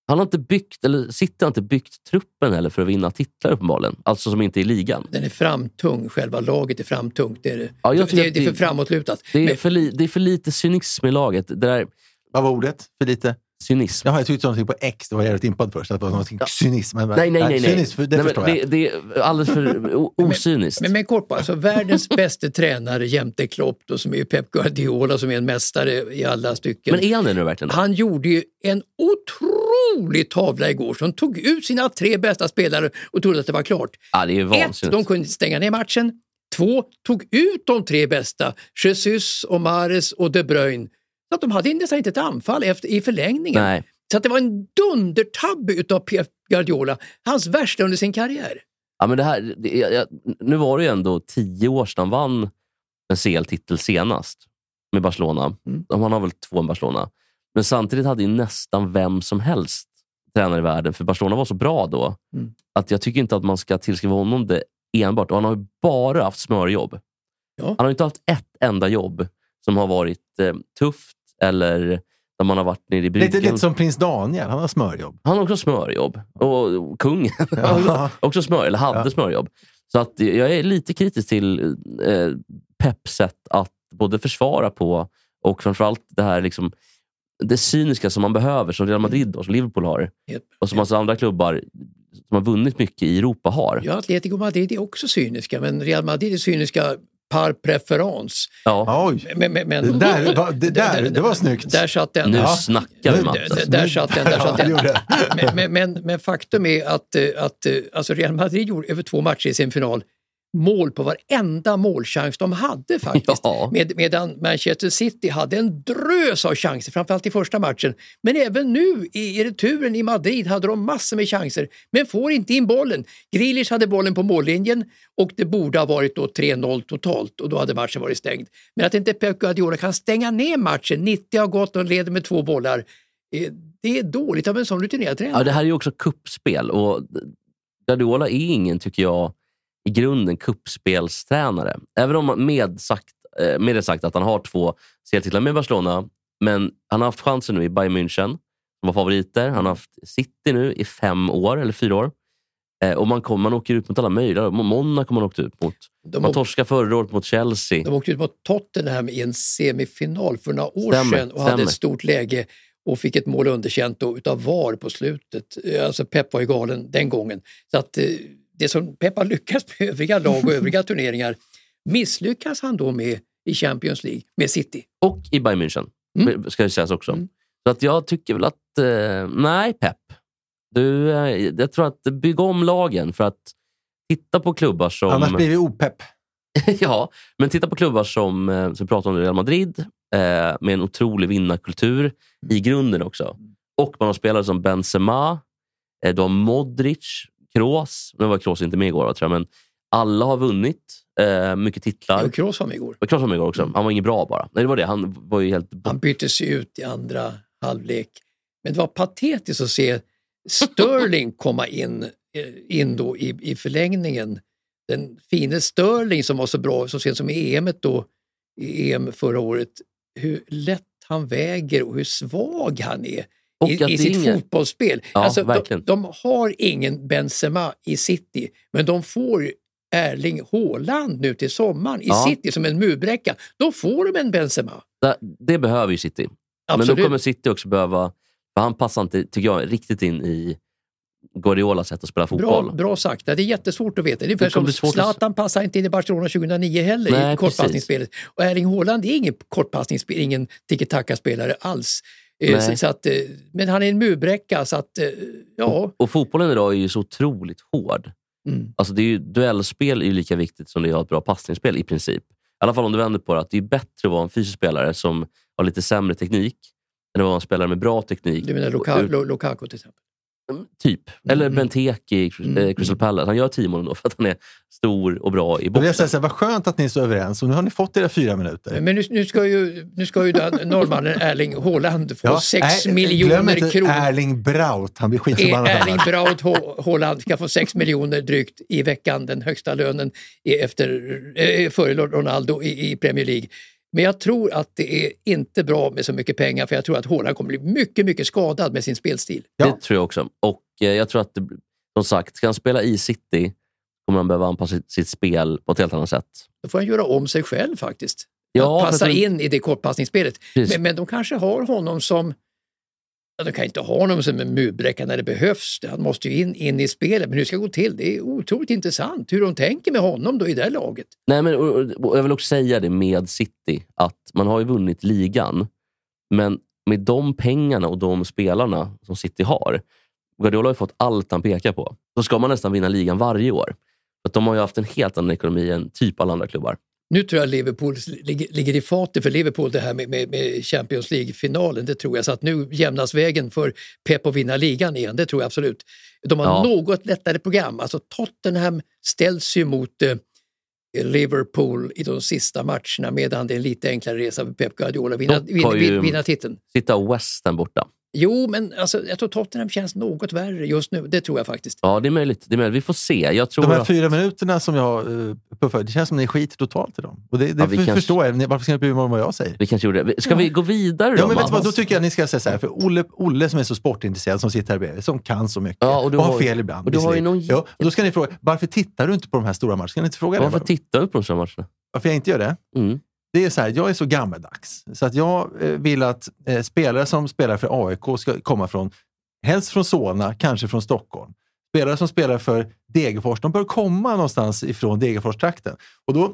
C: Han har inte byggt, eller sitter inte byggt truppen heller för att vinna titlar uppenbarligen. Alltså som inte är i ligan.
A: Den är framtung, själva laget är framtungt. Det är, det.
C: Ja, jag
A: det,
C: tycker
A: det,
C: att
A: det är för
C: det-
A: framåtlutat.
C: Det är,
A: Men-
C: för, li, det är för lite cynism i laget. Det där
B: Vad var ordet för lite?
C: cynism.
B: Jaha, jag tyckte någonting på X. Det var jag rätt impad först. Att det var någonting cynism. Men,
C: Nej, nej, nej. nej.
B: Cynism, för det
C: nej, men
B: förstår jag.
C: Det, det är alldeles för o- ocyniskt.
A: Men, men kort bara, alltså, världens bästa tränare jämte Klopp då, som är ju Pep Guardiola som är en mästare i alla stycken.
C: Men är han det nu verkligen?
A: Han gjorde ju en otrolig tavla igår som tog ut sina tre bästa spelare och trodde att det var klart.
C: ja, det är ju
A: Ett, de
C: vansinnigt.
A: kunde stänga ner matchen. Två, tog ut de tre bästa, Jesus, och Mares och De Bruyne. Så att de hade nästan inte ett anfall efter, i förlängningen.
C: Nej.
A: Så att det var en dundertabbe utav Pep Guardiola, hans värsta under sin karriär.
C: Ja, men det här, det, jag, jag, nu var det ju ändå tio år sedan han vann en CL-titel senast med Barcelona.
A: Mm.
C: Han har väl två med Barcelona. Men samtidigt hade ju nästan vem som helst tränare i världen, för Barcelona var så bra då,
A: Mm.
C: att jag tycker inte att man ska tillskriva honom det enbart. Och han har ju bara haft smörjobb.
A: Ja.
C: Han har ju inte haft ett enda jobb som har varit eh, tufft eller där man har varit nere i bryggan.
B: Lite, lite som prins Daniel. Han har smörjobb.
C: Han har också smörjobb. Och kungen
B: Ja.
C: också smör, eller hade
B: Ja.
C: smörjobb. Så att jag är lite kritisk till eh, Peps sätt att både försvara på och framförallt det här liksom, det cyniska som man behöver, som Real Madrid och som Liverpool har.
A: Yep.
C: Och som alltså andra klubbar som har vunnit mycket i Europa har.
A: Ja, Atletico Madrid är också cyniska, men Real Madrid är cyniska par preferens.
C: Ja.
B: Oj!
A: Men, men, men,
B: Det där, var- det där det var snyggt.
A: Där satt den.
C: Nu
A: Ja.
C: snackar vi
B: Nu-
C: Matte.
A: Där satt den, där
B: Ja,
A: satt
B: det
A: den.
B: gjorde jag.
A: men, men, men, men faktum är att, eh, att eh, alltså Real Madrid gjorde över två matcher i sin final mål på varenda målchans de hade faktiskt.
C: Ja.
A: Med, medan Manchester City hade en drös av chanser, framförallt i första matchen. Men även nu i, i returen i Madrid hade de massor med chanser, men får inte in bollen. Grealish hade bollen på mållinjen och det borde ha varit då 3-0 totalt och då hade matchen varit stängd. Men att inte Pep Guardiola kan stänga ner matchen, 90 har gått och leder med två bollar. Eh, det är dåligt av en sån rutinerad tränare.
C: Ja, det här är ju också kuppspel och Guardiola är ingen, tycker jag, i grunden kuppspelstränare. Även om man- med, sagt, eh, med det sagt att han har två serietitlar med Barcelona, men han har haft chansen nu i Bayern München, som var favoriter. Han har haft City nu i fem år, eller fyra år. Eh, Och man, kom, man åker ut mot alla möjliga. Monaco man åkt ut mot.
A: de,
C: Man
A: åkte,
C: torskade förra året mot Chelsea.
A: de åkte ut mot Tottenham i en semifinal för några år
C: Stämmer,
A: sedan och hade
C: stämmer.
A: ett stort läge och fick ett mål underkänt då, utav VAR på slutet. Eh, Alltså Pep var ju galen den gången. Så att, eh, det som Pep har lyckats med övriga lag och övriga turneringar misslyckas han då med i Champions League med City.
C: Och i Bayern München,
A: Mm.
C: ska det sägas också.
A: Mm.
C: Så att jag tycker väl att, eh, nej Pep. Du, eh, jag tror att bygga om lagen för att titta på klubbar som...
B: Annars blir vi opepp.
C: ja, men titta på klubbar som, eh, som vi pratade om, Real Madrid, eh, med en otrolig vinnarkultur i grunden också. Och man har spelare som Benzema, eh, de Modric, Kroos. Nu var Kroos inte med igår, va, tror jag, men alla har vunnit eh, mycket titlar.
A: Och Kroos var med igår.
C: Och Kroos var med igår
A: Mm.
C: också. Han var ingen bra bara. Nej, det var det. Han var ju helt
A: Han byttes ju ut i andra halvlek. Men det var patetiskt att se Sterling komma in, eh, in då i, i förlängningen. Den fine Sterling som var så bra så sent som i EM et då, i EM förra året. Hur lätt han väger och hur svag han är
C: Och att
A: i,
C: det
A: i
C: är
A: sitt
C: ingen-
A: fotbollsspel.
C: Ja,
A: alltså, de,
C: verkligen.
A: de har ingen Benzema i City, men de får Erling Haaland nu till sommaren i
C: Ja.
A: City som en murbräcka. Då får de en Benzema.
C: Det, det behöver ju City.
A: Absolut.
C: Men då kommer City också behöva... För han passar inte, tycker jag, riktigt in i Guardiolas sätt att spela fotboll.
A: Bra, bra sagt. Ja, Det är jättesvårt att veta. Det är ungefär
C: Det kommer
A: som
C: bli svårt att-
A: Zlatan passade inte in i Barcelona 2009 heller i
C: Nej, precis.
A: kortpassningsspelet. Och Erling Haaland är ingen kortpassningsspelare, ingen tiki-taka-spelare alls. Eh,
C: Nej.
A: Så, så att, eh, men han är en murbräcka så att, eh, ja.
C: Och fotbollen idag är ju så otroligt hård.
A: Mm.
C: Alltså det är ju, duellspel är ju lika viktigt som det är att ha ett bra passningsspel i princip. I alla fall om du vänder på det. Att det är bättre att vara en fysisk spelare som har lite sämre teknik än att vara en spelare med bra teknik.
A: Du menar Luka, Lu- Lukaku till exempel?
C: Typ. Eller
A: Mm.
C: Benteke i Cr- eh,
A: Mm.
C: Crystal Palace. Han gör tio mål ändå för att han är stor och bra
B: Då
C: i
B: vill
C: boxen.
B: jag säga så här, vad skönt att ni är så överens. Och nu har ni fått era fyra minuter.
A: Men nu, nu ska ju, nu ska ju den norrmannen Erling Haaland få
B: Ja,
A: 6
B: nej, Glöm
A: miljoner
B: inte
A: kronor.
B: Erling Braut. Han blir
A: Är
B: skitförbannad.
A: Erling
B: annars.
A: Braut Ho- Haaland ska få 6 miljoner drygt i veckan, den högsta lönen i- efter, eh, före Ronaldo i, i Premier League. Men jag tror att det är inte bra med så mycket pengar för jag tror att Haaland kommer bli mycket, mycket skadad med sin spelstil.
B: Ja.
C: Det tror jag också. Och eh, jag tror att, det, som sagt, ska han spela i City kommer han behöva anpassa sitt, sitt spel på ett helt annat sätt.
A: Då får han göra om sig själv faktiskt.
C: Ja,
A: att passa
C: för att-
A: in i det kortpassningsspelet.
C: Precis.
A: Men, men de kanske har honom som... Ja, de kan inte ha honom som en murbräcka när det behövs. Han måste ju in, in i spelet. Men hur ska det gå till? Det är otroligt intressant hur de tänker med honom då i det här laget.
C: Nej, men, och, och, och jag vill också säga det med City, att man har ju vunnit ligan, men med de pengarna och de spelarna som City har, Guardiola har ju fått allt han pekar på, då ska man nästan vinna ligan varje år. För att de har ju haft en helt annan ekonomi än typ alla andra klubbar.
A: Nu tror jag Liverpool ligger, ligger i fatet för Liverpool det här med, med, med Champions League-finalen. Det tror jag. Så att nu jämnas vägen för Pep att vinna ligan igen. Det tror jag absolut. De har
C: Ja.
A: något lättare program. Alltså Tottenham ställs ju mot eh, Liverpool i de sista matcherna medan det är en lite enklare resa för Pep Guardiola att vinna,
C: Dock
A: vinna,
C: har ju-
A: vinna titeln.
C: Sitta West Ham borta.
A: Jo, men alltså, jag tror Tottenham känns något värre just nu. Det tror jag faktiskt.
C: Ja, det är möjligt. Det är möjligt. Vi får se. Jag tror
B: De här
C: att-
B: fyra minuterna som jag eh, puffar, det känns som ni skiter totalt i dem. Och det, det
C: Ja, vi
B: för,
C: kanske-
B: förstår jag. Ni- Varför ska ni bry er om vad jag säger?
C: Vi kanske gjorde det. Ska vi gå vidare då?
B: Ja, men vet du
C: Mats?
B: vad, då tycker jag ni ska säga så här, för Olle, Olle som är så sportintresserad, som sitter här bredvid, som kan så mycket
C: Ja, och du
B: har
C: har ju-
B: fel ibland.
C: och du har ju
B: visserligen.
C: någon-
B: ja, och då ska ni fråga, varför tittar du inte på de här stora matcherna? Ska ni inte fråga
C: Varför
B: det?
C: tittar du på de här matcherna?
B: Varför jag inte gör det?
C: Mm.
B: Det är så här, jag är så gammeldags, så att jag eh, vill att eh, spelare som spelar för AIK ska komma från, helst från Solna, kanske från Stockholm. Spelare som spelar för Degerfors, de bör komma någonstans ifrån Degerfors-trakten. Och då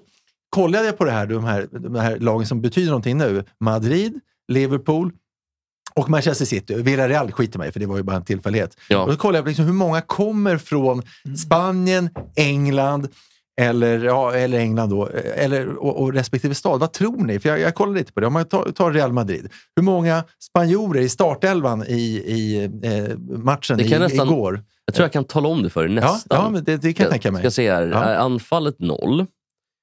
B: kollade jag på det här, de här, de här lagen som betyder någonting nu. Madrid, Liverpool och Manchester City. Villarreal skiter mig, för det var ju bara en tillfällighet. Och
C: Ja.
B: då kollade jag på liksom hur många kommer från Spanien, England, eller, ja, eller England då, eller, och, och respektive stad. Vad tror ni? För jag, jag kollade lite på det. Om man tar, tar Real Madrid. Hur många spanjorer i startelvan i, i eh, matchen
C: Det kan
B: i,
C: nästan-
B: igår?
C: Jag tror jag kan tala om det för dig
B: Ja,
C: nästan.
B: ja men det, det kan jag tänka mig.
C: Ska se här.
B: Ja.
C: Eh, Anfallet noll.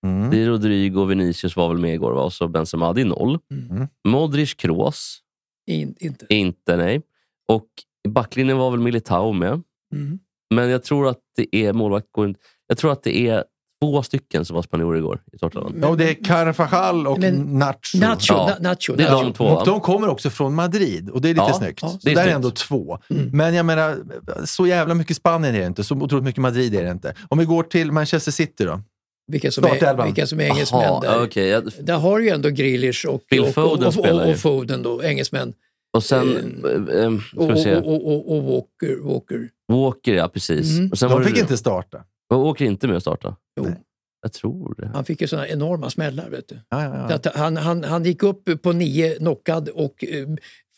B: Mm.
C: Det är Rodrigo och Vinicius var väl med igår, va? och så Benzema, det är noll.
A: Mm.
B: Mm.
C: Modric, Kroos,
A: In, inte.
C: inte nej. Och i backlinjen var väl Militao med.
A: Mm.
C: Men jag tror att det är målvakt. Jag tror att det är två stycken som var spanjorer igår i Tottenham.
A: Men-
B: Ja, och det är Carvajal och
A: Men-
B: Nacho.
A: Nacho,
C: Ja.
A: na, nacho,
C: Det är
A: nacho.
C: de två.
B: Och
C: va?
B: de kommer också från Madrid och det är lite
C: Ja,
B: snyggt.
A: ja,
B: Så
C: det är
B: där är
C: snyggt.
B: ändå två.
A: Mm.
B: Men jag menar, så jävla mycket Spanien är det inte. Så otroligt mycket Madrid är det inte. Om vi går till Manchester City då.
A: Vilka, som
B: Startelvan.
A: är, vilka som är engelsmän
C: Jaha,
A: där.
C: okej, jag-
A: Där har du ju ändå Grealish och,
C: Phil
A: och, och,
C: Foden
A: och,
C: spelar
A: och,
C: ju.
A: och Foden då, engelsmän.
C: Och sen...
A: Eh,
C: eh, eh, ska
A: Och,
C: vi
A: och,
C: se.
A: och, och, och Walker. Walker.
C: Walker, ja precis.
A: Mm.
C: Och sen var
B: De
C: det
B: fick
C: du.
B: inte starta.
C: Var Walker inte med att starta?
A: Jo,
B: Nej.
C: Jag tror det.
A: han fick ju sådana enorma smällar. Vet du.
B: Ja, ja,
A: Så
B: ja.
A: att han, han, han gick upp på nio knockad och eh,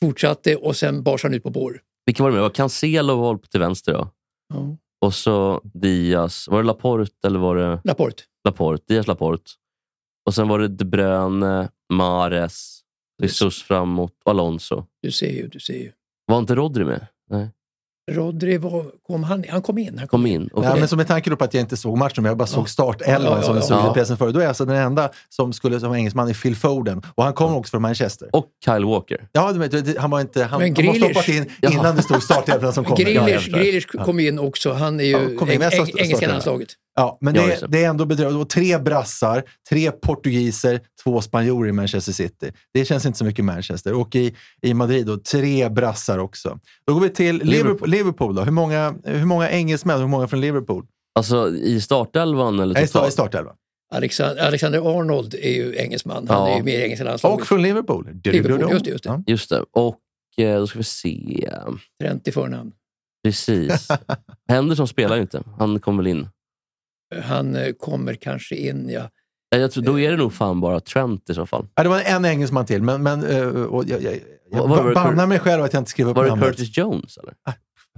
A: fortsatte och sen bars han ut på bår.
C: Vilka var det med? Var Cancelo var till vänster då?
A: Ja.
C: Och så Diaz. Var det Laporte eller var det
A: Rapport.
C: Laporte? Diaz Laporte. Och sen var det De Bruyne, Mares, Jesus framåt och Alonso.
A: Du ser ju, du ser ju.
C: Var inte Rodri med? Nej.
A: Rodri var, kom, han, han kom in. Han kom
C: Kom
A: in.
C: in.
B: Ja,
C: Okej.
B: men som med tanke då på att jag inte såg matchen, men jag bara såg startelvan
A: Ja, ja,
B: som jag
A: ja.
B: såg
C: Ja.
B: i pressen förut. Då är jag alltså den enda som skulle som engelsman i Phil Foden. Och han kommer också från Manchester.
C: Och Kyle Walker.
B: Ja, du vet, det- han var inte... Han, han
A: Men
B: måste ha
A: Grealish-
B: hoppat in innan
C: Ja.
B: det stod startelvan som kom. Ja, jag
A: Grealish,
B: förstår.
A: Grealish kom in också. Han är ju
B: Ja, kom in. Jag
A: eng,
B: sa-
A: engelska
B: startade.
A: landslaget.
B: Ja, men
C: Ja,
B: det,
C: just det.
B: det är ändå bedrövligt. Och Tre brassar, tre portugiser, två spanjorer i Manchester City. Det känns inte så mycket Manchester. Och i, i Madrid då, tre brassar också. Då går vi till Liverpool,
C: Liverpool.
B: Liverpool då. Hur många, hur många engelsmän och hur många från Liverpool?
C: Alltså i startelvan eller
B: Nej, sta- i
C: totalt?
B: startelvan.
A: Alexander, Alexander Arnold är ju engelsman. Han
C: Ja.
A: är ju med i engelska landslaget.
B: Och från Liverpool. Du- du- du-
A: Liverpool, just det, just det.
B: Ja.
C: Just det. Och eh, då ska vi se.
A: Trent i förnamn.
C: Precis. Henderson spelar ju inte. Han kom väl in.
A: Han eh, kommer kanske in, ja.
C: Ja, Jag tror, då
B: Eh,
C: är det nog fan bara Trent i så fall.
B: Ja, det var en engelsman till, men, men eh, och jag, jag, jag
C: Var- var det
B: bannar
C: Cur-
B: mig själv att jag inte skrev upp
C: Var det
B: namnet.
C: Curtis Jones? Eller?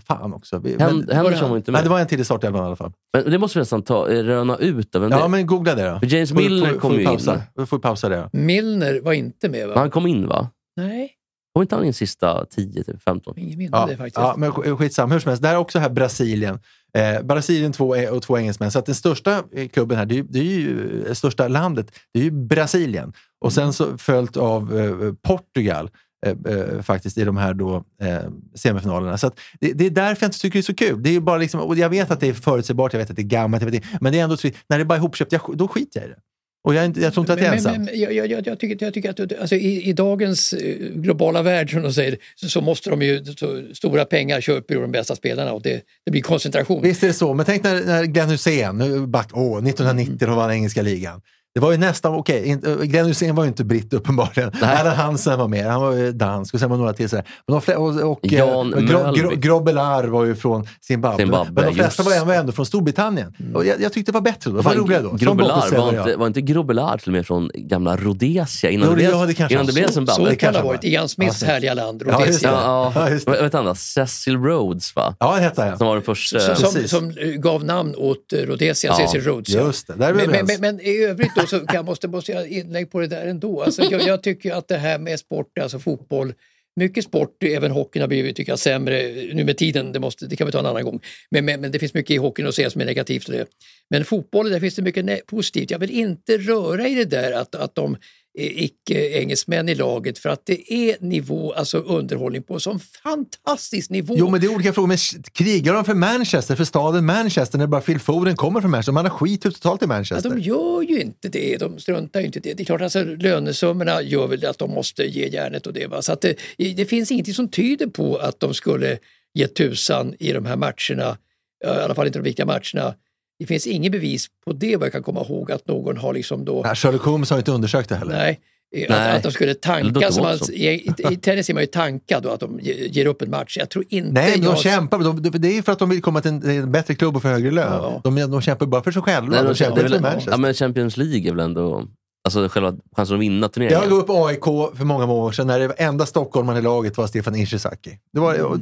B: Fan också. Vi, men,
C: Hen- Henderson var inte
B: nej,
C: med.
B: det var en till i startelvan i alla fall.
C: Men det måste vi nästan ta, eh, röna ut. Även
B: Ja,
C: det.
B: men googla det då.
C: För James
B: Får- får-
C: Milner
B: får
C: kom
B: vi
C: ju in.
B: pausa? Då får vi pausa det. då.
A: Milner var inte med va?
C: Men Han kom in va?
A: Nej,
C: Kom inte han in sista 10, typ 15?
A: ingen minne
B: Ja,
A: det faktiskt.
B: ja, men sk- skitsam. Hur som helst, det här är också här Brasilien. Eh, Brasilien två, e- och två engelsmän. Så att den största eh, klubben här, det är, ju- det är ju eh, största landet, det är ju Brasilien. Och sen så följt av eh, Portugal eh, eh, faktiskt i de här då, eh, semifinalerna. Så att det, det är därför jag inte tycker det är så kul. Det är ju bara liksom, och jag vet att det är förutsägbart, jag vet att det är gammalt, jag vet det, men det är ändå trist. När det bara är ihopköpt, jag, sk- då skiter jag i det. Och jag, är inte- jag tror inte att jag är
A: men,
B: ensam.
A: men, men, jag, jag, jag, jag, tycker, jag tycker att alltså, i, i dagens eh, globala värld som de säger, så, så måste de ju, så, stora pengar köper ju de bästa spelarna och det, det blir koncentration.
B: Visst är det så, men tänk när, när Glenn Hussein, nu back, åh, 1990 då vann engelska ligan. Det var ju nästan, okej, inte- Glenn Hussein var ju inte britt uppenbarligen. Allan Hansen var med, han var ju dansk och sen var några till sådär. Men de flesta, och, och, eh,
C: Jan
B: Gro, Gro,
C: Mölvik.
B: Grobelar var ju från Zimbabwe.
C: Zimbabwe,
B: men de flesta
C: just
B: var ändå, var ändå från Storbritannien. Och jag, jag tyckte det var bättre då, det var
C: Fan,
B: roligare då. Som
C: Grobelar,
B: Bottenställer,
C: var,
B: ja.
C: inte, var inte Grobelar till och med från gamla Rhodesia innan
B: Jo,
C: det,
B: ja, det
C: blev,
B: kanske
C: innan det
B: han
C: blev
B: såg.
C: Zimbabwe?
B: Så
A: det
B: det
A: kan
B: kanske
A: det ha varit.
B: var.
A: Ian Smiths
B: Ja,
A: härliga land,
B: Ja, just det.
A: Rhodesia.
C: Ja,
B: Ja,
C: ja.
B: just det.
C: Vad hette han då? Cecil Rhodes va?
B: Ja, det hette han.
C: Som
B: ja.
C: var den första.
A: som, som,
B: precis.
A: som eh, gav namn åt eh, Rhodesia,
C: Ja,
A: Cecil Rhodes. ja.
B: Just det, där är vi
A: Men, men, men,
B: överens.
A: men i övrigt då så kan, måste, måste jag inlägg på det där ändå. Alltså, jag, jag tycker att det här med sport, alltså fotboll, mycket sport, även hockeyn har blivit tycker jag, sämre nu med tiden, det, måste, det kan vi ta en annan gång. Men, men, men det finns mycket i hockeyn att säga som är negativt. och Det. Men fotbollen, där finns det mycket ne- positivt. Jag vill inte röra i det där att, att de är icke-engelsmän i laget för att det är nivå, alltså underhållning på en sån fantastisk nivå.
B: Jo, men det är olika frågor. Men sh- krigar de för Manchester, för staden Manchester, när bara Phil Foden kommer från Manchester? Man har skit totalt i
A: Ja,
B: Manchester.
A: de gör ju inte det, de struntar ju inte i det. Det är klart alltså, lönesummorna gör väl att de måste ge järnet och det. Va? Så att det, det finns ingenting som tyder på att de skulle ge tusan i de här matcherna, eh, i alla fall inte de viktiga matcherna. Det finns ingen bevis på det vad jag kan komma ihåg att någon har liksom då...
B: Nej, Sherlock Holmes har inte undersökt det heller.
A: Nej. eh,
C: Nej.
A: Att, att de skulle
C: Eller
A: tanka.
C: Dr.
A: Som man,
C: Watson.
A: i, i- I tennis är man ju tankad och att de ge- ger upp en match. Jag tror inte...
B: Nej, men de
A: jag-
B: kämpar. De, de- det är för att de vill komma till en, till en bättre klubb och få högre lön.
A: Ja.
B: De, de kämpar bara för sig själva.
C: Nej,
B: de,
C: de-
B: kämpar
C: det är
B: inte för
C: väl-
B: Manchester.
C: Ja, men Champions League är väl ändå... Alltså själva chansen att vinna turneringen.
B: jag gav upp AIK för många, många år sedan när det enda stockholmaren i laget var Stefan Ishizaki. Det var, och,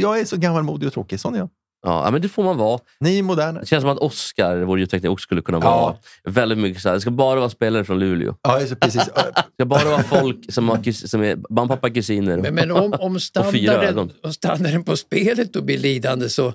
B: jag är så gammalmodig och tråkig. Sån är jag.
C: Ja, ja, men det får man vara.
B: Ni är moderna.
C: Det känns som att Oscar, vår ljudtekniker, också skulle kunna vara
B: Ja.
C: väldigt mycket så här. Det ska bara vara spelare från Luleå.
B: Ja, just, det, precis.
C: Det ska bara vara folk som, har, kus- som är mamma, pappa, kusiner.
A: Men, men om, om,
C: fyra
A: standarden,
C: ögon.
A: om standarden på spelet då blir lidande så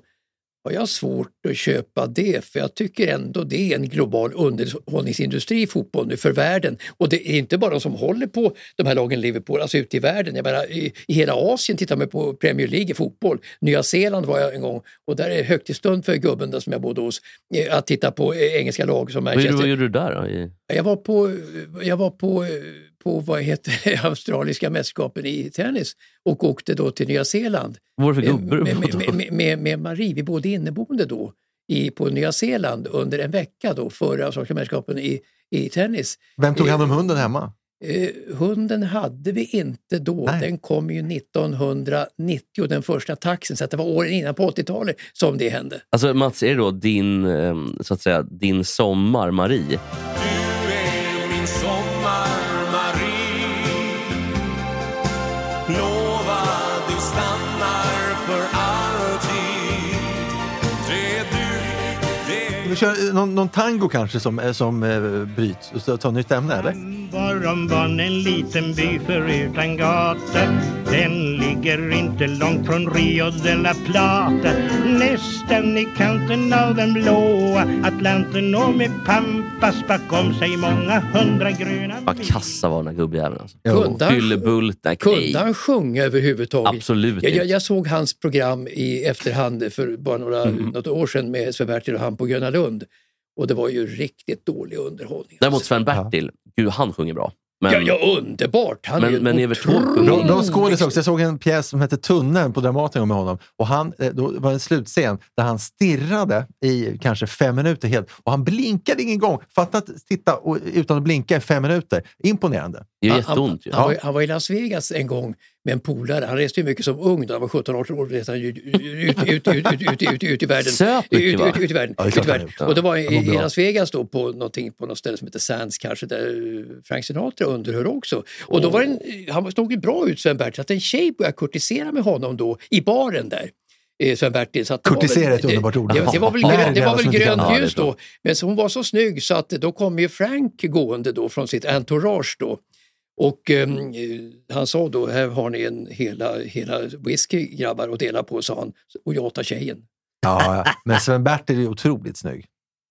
A: har jag svårt att köpa det. För jag tycker ändå det är en global underhållningsindustri i fotboll nu för världen. Och det är inte bara de som håller på de här lagen Liverpool, alltså ute i världen. Jag menar, i, I hela Asien tittar man på Premier League i fotboll. Nya Zeeland var jag en gång och där är det högtidsstund för gubben där som jag bodde hos eh, att titta på eh, engelska lag som
C: Vad gjorde,
A: Manchester
C: vad gjorde du där då? I,
A: jag var på, jag var på, på vad heter det, australiska mästerskapen i tennis och åkte då till Nya Zeeland
C: vad var det för
A: med,
C: gubbe du
A: med,
C: var
A: med,
C: då?
A: med, med, med Marie. Vi bodde inneboende då i, på Nya Zeeland under en vecka då före australiska mästerskapen i, i tennis.
B: Vem tog hand om hunden hemma?
A: Eh, hunden hade vi inte då.
B: Nej.
A: Den kom ju 1990, den första taxen. Så att det var åren innan på 80-talet som det hände.
C: Alltså Mats, är det då din, ehm, så att säga, din sommar Marie?
F: Du är min sommar-Marie Lova, du stannar för alltid Det är du, det är
B: Vi kör eh, någon, någon tango kanske som, eh, som eh, bryts och så tar nytt ämne eller?
I: Varom vann en liten by förutan gata Den ligger inte långt från Rio de la Plata Nästan i kanten av den blåa Atlanten och med Pampas bakom sig många hundra gröna
A: Mm.
C: Vad kassa var den här gubbjäveln. Alltså.
A: Kunde han-
C: Fyllebult, nej,
A: Kunde
C: nej.
A: han sjunga överhuvudtaget?
C: Absolut
A: Jag, jag,
C: inte.
A: jag såg hans program i efterhand för bara några,
C: Mhm.
A: något år sedan med Sven Bertil och han på Gröna Lund. Och det var ju riktigt dålig underhållning.
C: Däremot
A: Alltså,
C: Sven-Bertil, gud han sjunger bra. Men,
A: ja, ja, underbart! Han är ju
C: men, men
A: en
C: Evert Taube
A: otrolig-
B: Bra,
C: sjunger
B: bra skådis också. Jag såg en pjäs som hette Tunneln på Dramaten med honom. Och han, eh, då var det en slutscen där han stirrade i kanske fem minuter helt. Och han blinkade ingen gång. Fatta att titta och, utan att blinka i fem minuter. Imponerande.
C: Det gör
A: Han- han-
C: jätteont ju.
A: Han, var, han var i Las Vegas en gång med en polare. Han reste ju mycket som ung, då han var 17-18 år reste han ju ut, ut, ut, ut, ut, ut, ut, ut i världen.
C: Söp
A: ut,
C: mycket,
A: ut,
C: va?
A: ut, ut i världen.
B: Ja, det är
A: ut i
B: klart han
A: världen.
C: har gjort.
A: Och det var i,
B: Han var
A: i
B: bra.
A: Las Vegas då på, någonting, på något ställe som heter Sands kanske, där eh, Frank Sinatra underhör också. Och då var det en, eh, han såg ju bra ut, Sven-Bertil, så att en tjej började kurtisera med honom då i baren där. eh, Sven-Bertil. så att det var
B: Kurtisera
A: väl-
B: är ett underbart ord.
A: Det, det, det var väl,
B: Nej,
A: grön, det var väl
B: som inte kan
A: grönt
C: ha det,
A: ljus
C: tror
A: då.
C: jag.
A: Men så hon var så snygg så att då kom ju Frank gående då från sitt entourage då. Och ehm, han sa då, här har ni en hela, hela whisky grabbar och dela på, sa han. Och jag tar tjejen.
B: Ja, ja. men Sven-Bertil är ju otroligt snygg.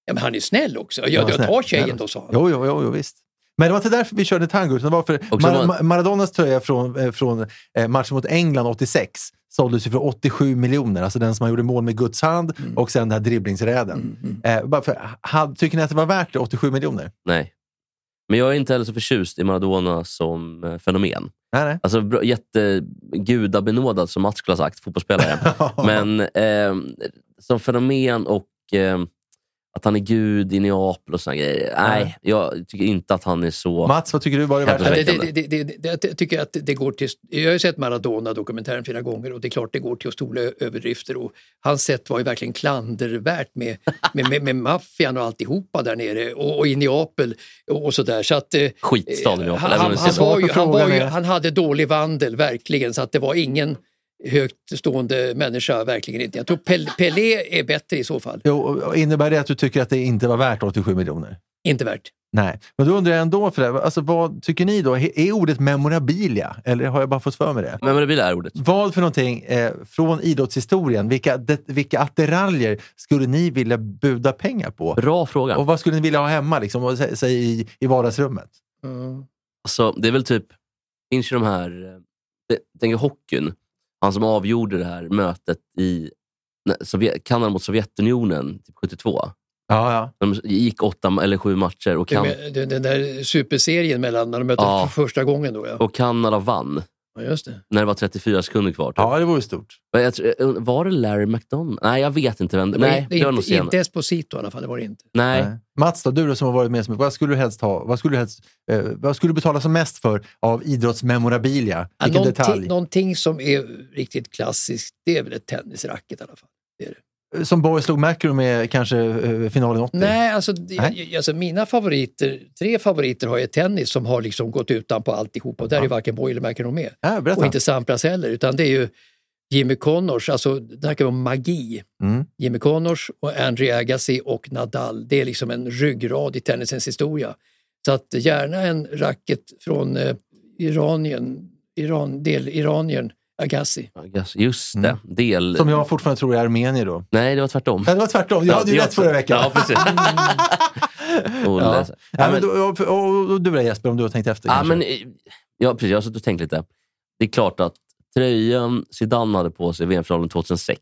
A: Ja, men han är snäll också. Ja,
B: Ja,
A: jag
B: snäll.
A: tar tjejen då, sa han.
B: Jo, jo, jo, jo visst. Men det var inte därför vi körde tango, utan det var för
C: Också
B: Mar-
C: var-
B: Ma- Maradonas tröja från, eh, från eh, matchen mot England 86 såldes ju för 87 miljoner. Alltså den som han gjorde mål med Guds hand och sen den här
A: Mm,
B: dribblingsräden. Eh, bara för, hade, tycker ni att det var värt det, 87 miljoner?
C: Nej. Men jag är inte heller så förtjust i Maradona som eh, fenomen.
B: Nej, nej.
C: Alltså bra- jättegudabenådad som Mats skulle ha sagt, fotbollsspelare. Men ehm, som fenomen och ehm, att han är gud i Neapel och såna grejer. Nej, jag tycker inte att han är så...
B: Mats, vad tycker du? Var det värt
C: Ja,
B: det?
A: Ja, det, det, det, det, det, det tycker jag att det går till... Jag har ju sett Maradona-dokumentären flera gånger och det är klart det går till stora överdrifter. Och hans sätt var ju verkligen klandervärt med, med, med, med maffian och alltihopa där nere och, och i Neapel och, och sådär. Så att, eh,
C: Skitstad i
A: eh,
C: Neapel,
A: han,
C: även om
A: han,
C: det
A: han,
C: ser-
A: var ju,
B: Svaret på
A: han, var
B: frågan
A: ju,
B: är-
A: han hade dålig vandel verkligen så att det var ingen högt stående människa, verkligen inte. Jag tror Pel- Pelé är bättre i så fall.
B: Jo, och- och innebär det att du tycker att det inte var värt 87 miljoner?
A: Inte värt.
B: Nej, men då undrar jag ändå, för det, alltså, vad tycker ni då? He- Är ordet memorabilia, eller har jag bara fått för mig det?
C: Men, men det blir det här ordet.
B: Vad för någonting eh, från idrottshistorien, vilka, det, vilka attiraljer skulle ni vilja buda pengar på?
C: Bra fråga.
B: Och vad skulle ni vilja ha hemma liksom, och, sä, säg, i, i vardagsrummet? Mm.
C: Alltså, det är väl typ, finns ju de här, eh, det- tänk er hockeyn, han som avgjorde det här mötet i nej, Sovjet, Kanada mot Sovjetunionen typ 72.
B: Ja, ja.
C: De gick åtta ma- eller sju matcher och, kan,
A: Med- Den, den där superserien mellan när de möttes
C: Ja.
A: för första gången då. Ja.
C: och Kanada vann
A: Ja, just det.
C: när det var 34 sekunder kvar. Typ.
B: ja, det vore stort.
C: Men jag tror- eh, var det Larry McDonald? Nej, jag vet inte vem det
A: Det var
C: Nej,
A: inte-
C: det var nog
A: inte,
C: senare.
A: inte Esposito i alla fall, det var det inte.
C: Nej.
B: Nej. Mats, då, du då som har varit med så mycket, vad skulle du helst ha? Vad skulle du, helst, eh, vad skulle du betala som mest för av idrottsmemorabilia?
A: Ja,
B: Vilken
A: någonting,
B: detalj?
A: någonting som är riktigt klassiskt, det är väl ett tennisracket i alla fall.
B: Eh, Som Borg slog McEnroe med kanske eh, finalen 80?
A: Nej, alltså, det-
B: Nej.
A: alltså mina favoriter, tre favoriter har ju tennis som har liksom gått utan på alltihopa och där är ju varken Boyle eller McEnroe med.
B: Ja, berätta.
A: Och inte Sampras heller, utan det är ju Jimmy Connors, alltså det här kan vara magi.
B: Mm.
A: Jimmy Connors och Andre Agassi och Nadal. Det är liksom en ryggrad i tennisens historia. Så att gärna en racket från eh, Iranien, Iran, del Iranien Agassi.
C: Agassi. Just det. Del...
B: Som jag fortfarande tror är Armenier då.
C: Nej, det var tvärtom.
B: Men det var tvärtom. Jag hade ju
C: det
B: rätt
C: också.
B: förra veckan.
C: Ja, precis. Olle.
B: Ja.
C: Ja,
B: men,
C: men-
B: och, och, och du då Jesper, om du har tänkt efter
C: Ja,
B: kanske?
C: men, eh, ja, precis. Jag har suttit och tänkt lite. Det är klart att tröjan Zidane hade på sig i VM-finalen 2006,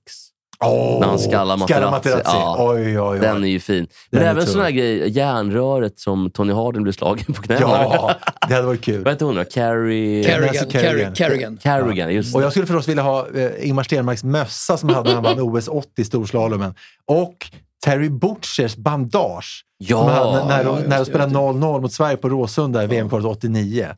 B: Åh,
C: när han skallar
B: skallar
C: Materazzi. Ja.
B: Oj, oj, oj.
C: den är ju fin. Men
B: Den är
C: även
B: tung.
C: sådana här grejer, järnröret som Tony Harding blev slagen på knäna.
B: Ja, det hade varit kul.
C: Vad hette hon då? Carrie...
A: Carrigan.
B: Nancy alltså Kerrigan.
A: Carri- Carrigan.
C: Carrigan, just
B: Och
C: det.
B: jag skulle förstås vilja ha eh, Ingmar Stenmarks mössa som han hade när han vann OS 80 i storslalomen. Och Terry Butchers bandage. som han hade när,
C: Ja!
B: när,
A: Ah, ja,
B: de-
A: just
B: när
A: det,
B: de spelade
A: just det.
B: 0-0 mot Sverige på Råsunda i VM-kvalet 89.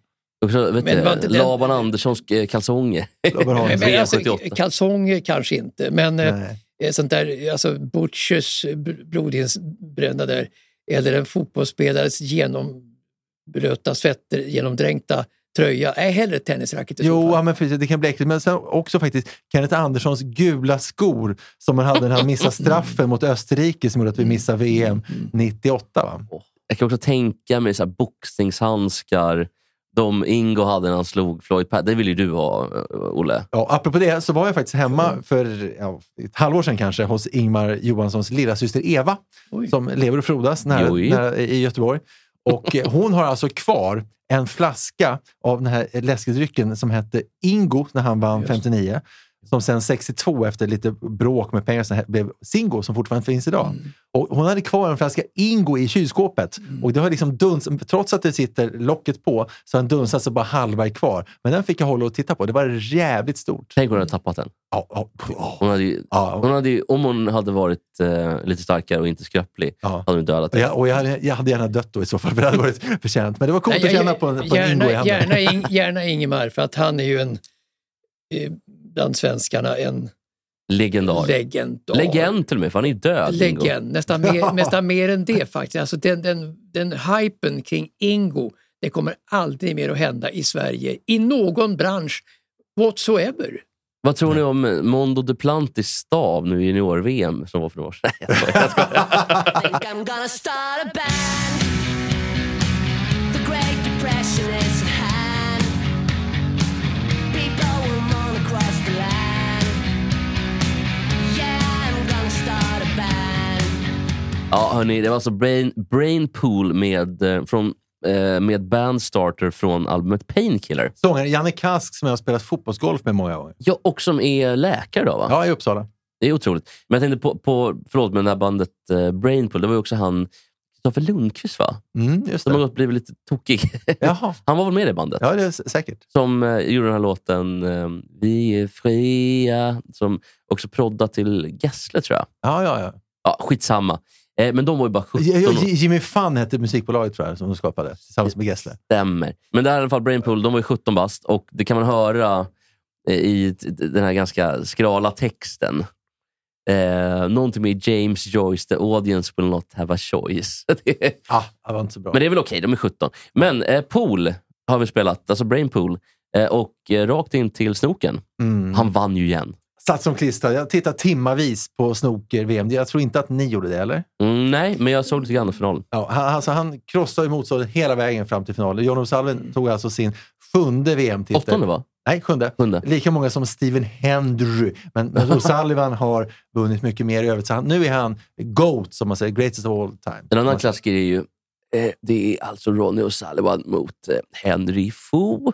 C: Och så, vet
A: Men var inte
C: du,
A: den-
C: Laban Anderssons eh, kalsonger.
B: Laban
A: Men,
B: Hansson.
A: men, alltså,
C: 78.
A: kalsonger kanske inte, men eh,
B: Nej.
A: eh, sånt där, alltså Butchers eh, bl- blodinbrända där, eller en fotbollsspelares genomblöta svetter, genomdränkta tröja. Nej, hellre tennisracket i så
B: Jo,
A: fall.
B: ja, men precis, det kan bli äckligt. Men sen också faktiskt Kenneth Anderssons gula skor som han hade när han missade straffen mot Österrike som gjorde att vi missade VM
A: Mm,
B: 98. Va?
C: Jag kan också tänka mig så här boxningshandskar. De Ingo hade när han slog Floyd Patterson. Det vill ju du ha, eh, Olle.
B: Ja, apropå det så var jag faktiskt hemma för ja, ett halvår sedan kanske hos Ingmar Johanssons lillasyster Eva
A: Oj.
B: som lever och frodas nära,
C: Oj.
B: nära, i Göteborg. Och eh, hon har alltså kvar en flaska av den här läskedrycken som hette Ingo när han vann 59. Som sen 62 efter lite bråk med pengar så här, blev Singo som fortfarande finns idag.
A: Mm.
B: Och hon hade kvar en flaska Ingo i kylskåpet. Och det har liksom duns, trots att det sitter locket på så har den dunsat så bara halva är kvar. Men den fick jag hålla och titta på. Det var jävligt stort.
C: Tänk om hon hade tappat den.
B: Ja, ja, ja.
C: Hon hade ju,
B: Ja.
C: hon hade ju, om hon hade varit eh, lite starkare och inte skröplig,
B: Ja.
C: hade hon dödat
B: Och
C: den.
B: Jag, och jag, hade, jag hade gärna dött då i så fall, för det hade varit förtjänt. Men det var coolt
A: Nej,
B: att
A: jag-
B: känna på en, på en Ingo i
A: gärna,
B: handen.
A: gärna, Ing- gärna Ingemar, för att han är ju en, eh, bland svenskarna en
C: Legendar.
A: legendar.
C: Legend till och med, för han är ju död. Ingo.
A: Legend, nästan mer, nästan mer än det faktiskt. Alltså den, den, den hypen kring Ingo, det kommer aldrig mer att hända i Sverige i någon bransch whatsoever.
C: Vad tror ni om Mondo Duplantis stav nu i junior-VM som var för några år sedan? Nej, jag skojar.
E: think I'm gonna start a band. The Great Depression is at hand. People will moan across the land. Yeah, I'm gonna start a band.
C: Ja, hörni, det var alltså Brain, Brain Pool med, eh, från, eh, med Bandstarter från albumet Painkiller.
B: Sångaren Janne Kask som jag har spelat fotbollsgolf med många gånger.
C: Ja, och som är läkare då, va?
B: Ja, i Uppsala.
C: Det är otroligt. Men jag tänkte på, på förlåt, men det här bandet eh, Brain Pool, det var ju också han Kristoffer Lundqvist, va?
B: Mm, just
C: Som har
B: det.
C: gått blivit lite tokig.
B: Jaha.
C: Han var väl med i det bandet?
B: Ja, det är s- säkert.
C: Som eh, gjorde den här låten eh, Vi är fria, som också prodda till Gessle, tror jag.
B: Ja, ja, ja.
C: Ja, skitsamma. Eh, men de var ju bara 17
B: Ja, ja,
C: år.
B: Jimmy Fun hette musikbolaget tror jag, som de skapade tillsammans med Gessle.
C: Stämmer. Men där i alla fall, Brainpool, de var ju 17 bast och det kan man höra eh, i t- den här ganska skrala texten. Eh, någonting med James Joyce, the audience will not have a choice. Det är-
B: Ah, det var inte så bra.
C: Men det är väl okej, de är 17. Men eh, Pool har vi spelat, alltså Brainpool. Eh, och eh, rakt in till snoken.
B: Mm.
C: Han vann ju igen.
B: Satt som klistrad. Jag tittade timmavis på snooker-VM. Jag tror inte att ni gjorde det, eller?
C: Mm, nej, men jag såg lite grann i finalen.
B: Ja, han, alltså, han krossade ju motståndet hela vägen fram till finalen. John O'Sullivan tog alltså sin sjunde VM-titel.
C: Åttonde va?
B: Nej, sjunde.
C: Sjunde.
B: Lika många som Steven Hendry. Men men O'Sullivan har vunnit mycket mer i övrigt. Så han, nu är han GOAT, som man säger. Greatest of all time.
C: En annan klassiker är ju eh, det är alltså Ronny O'Sullivan mot eh, Henry Foo.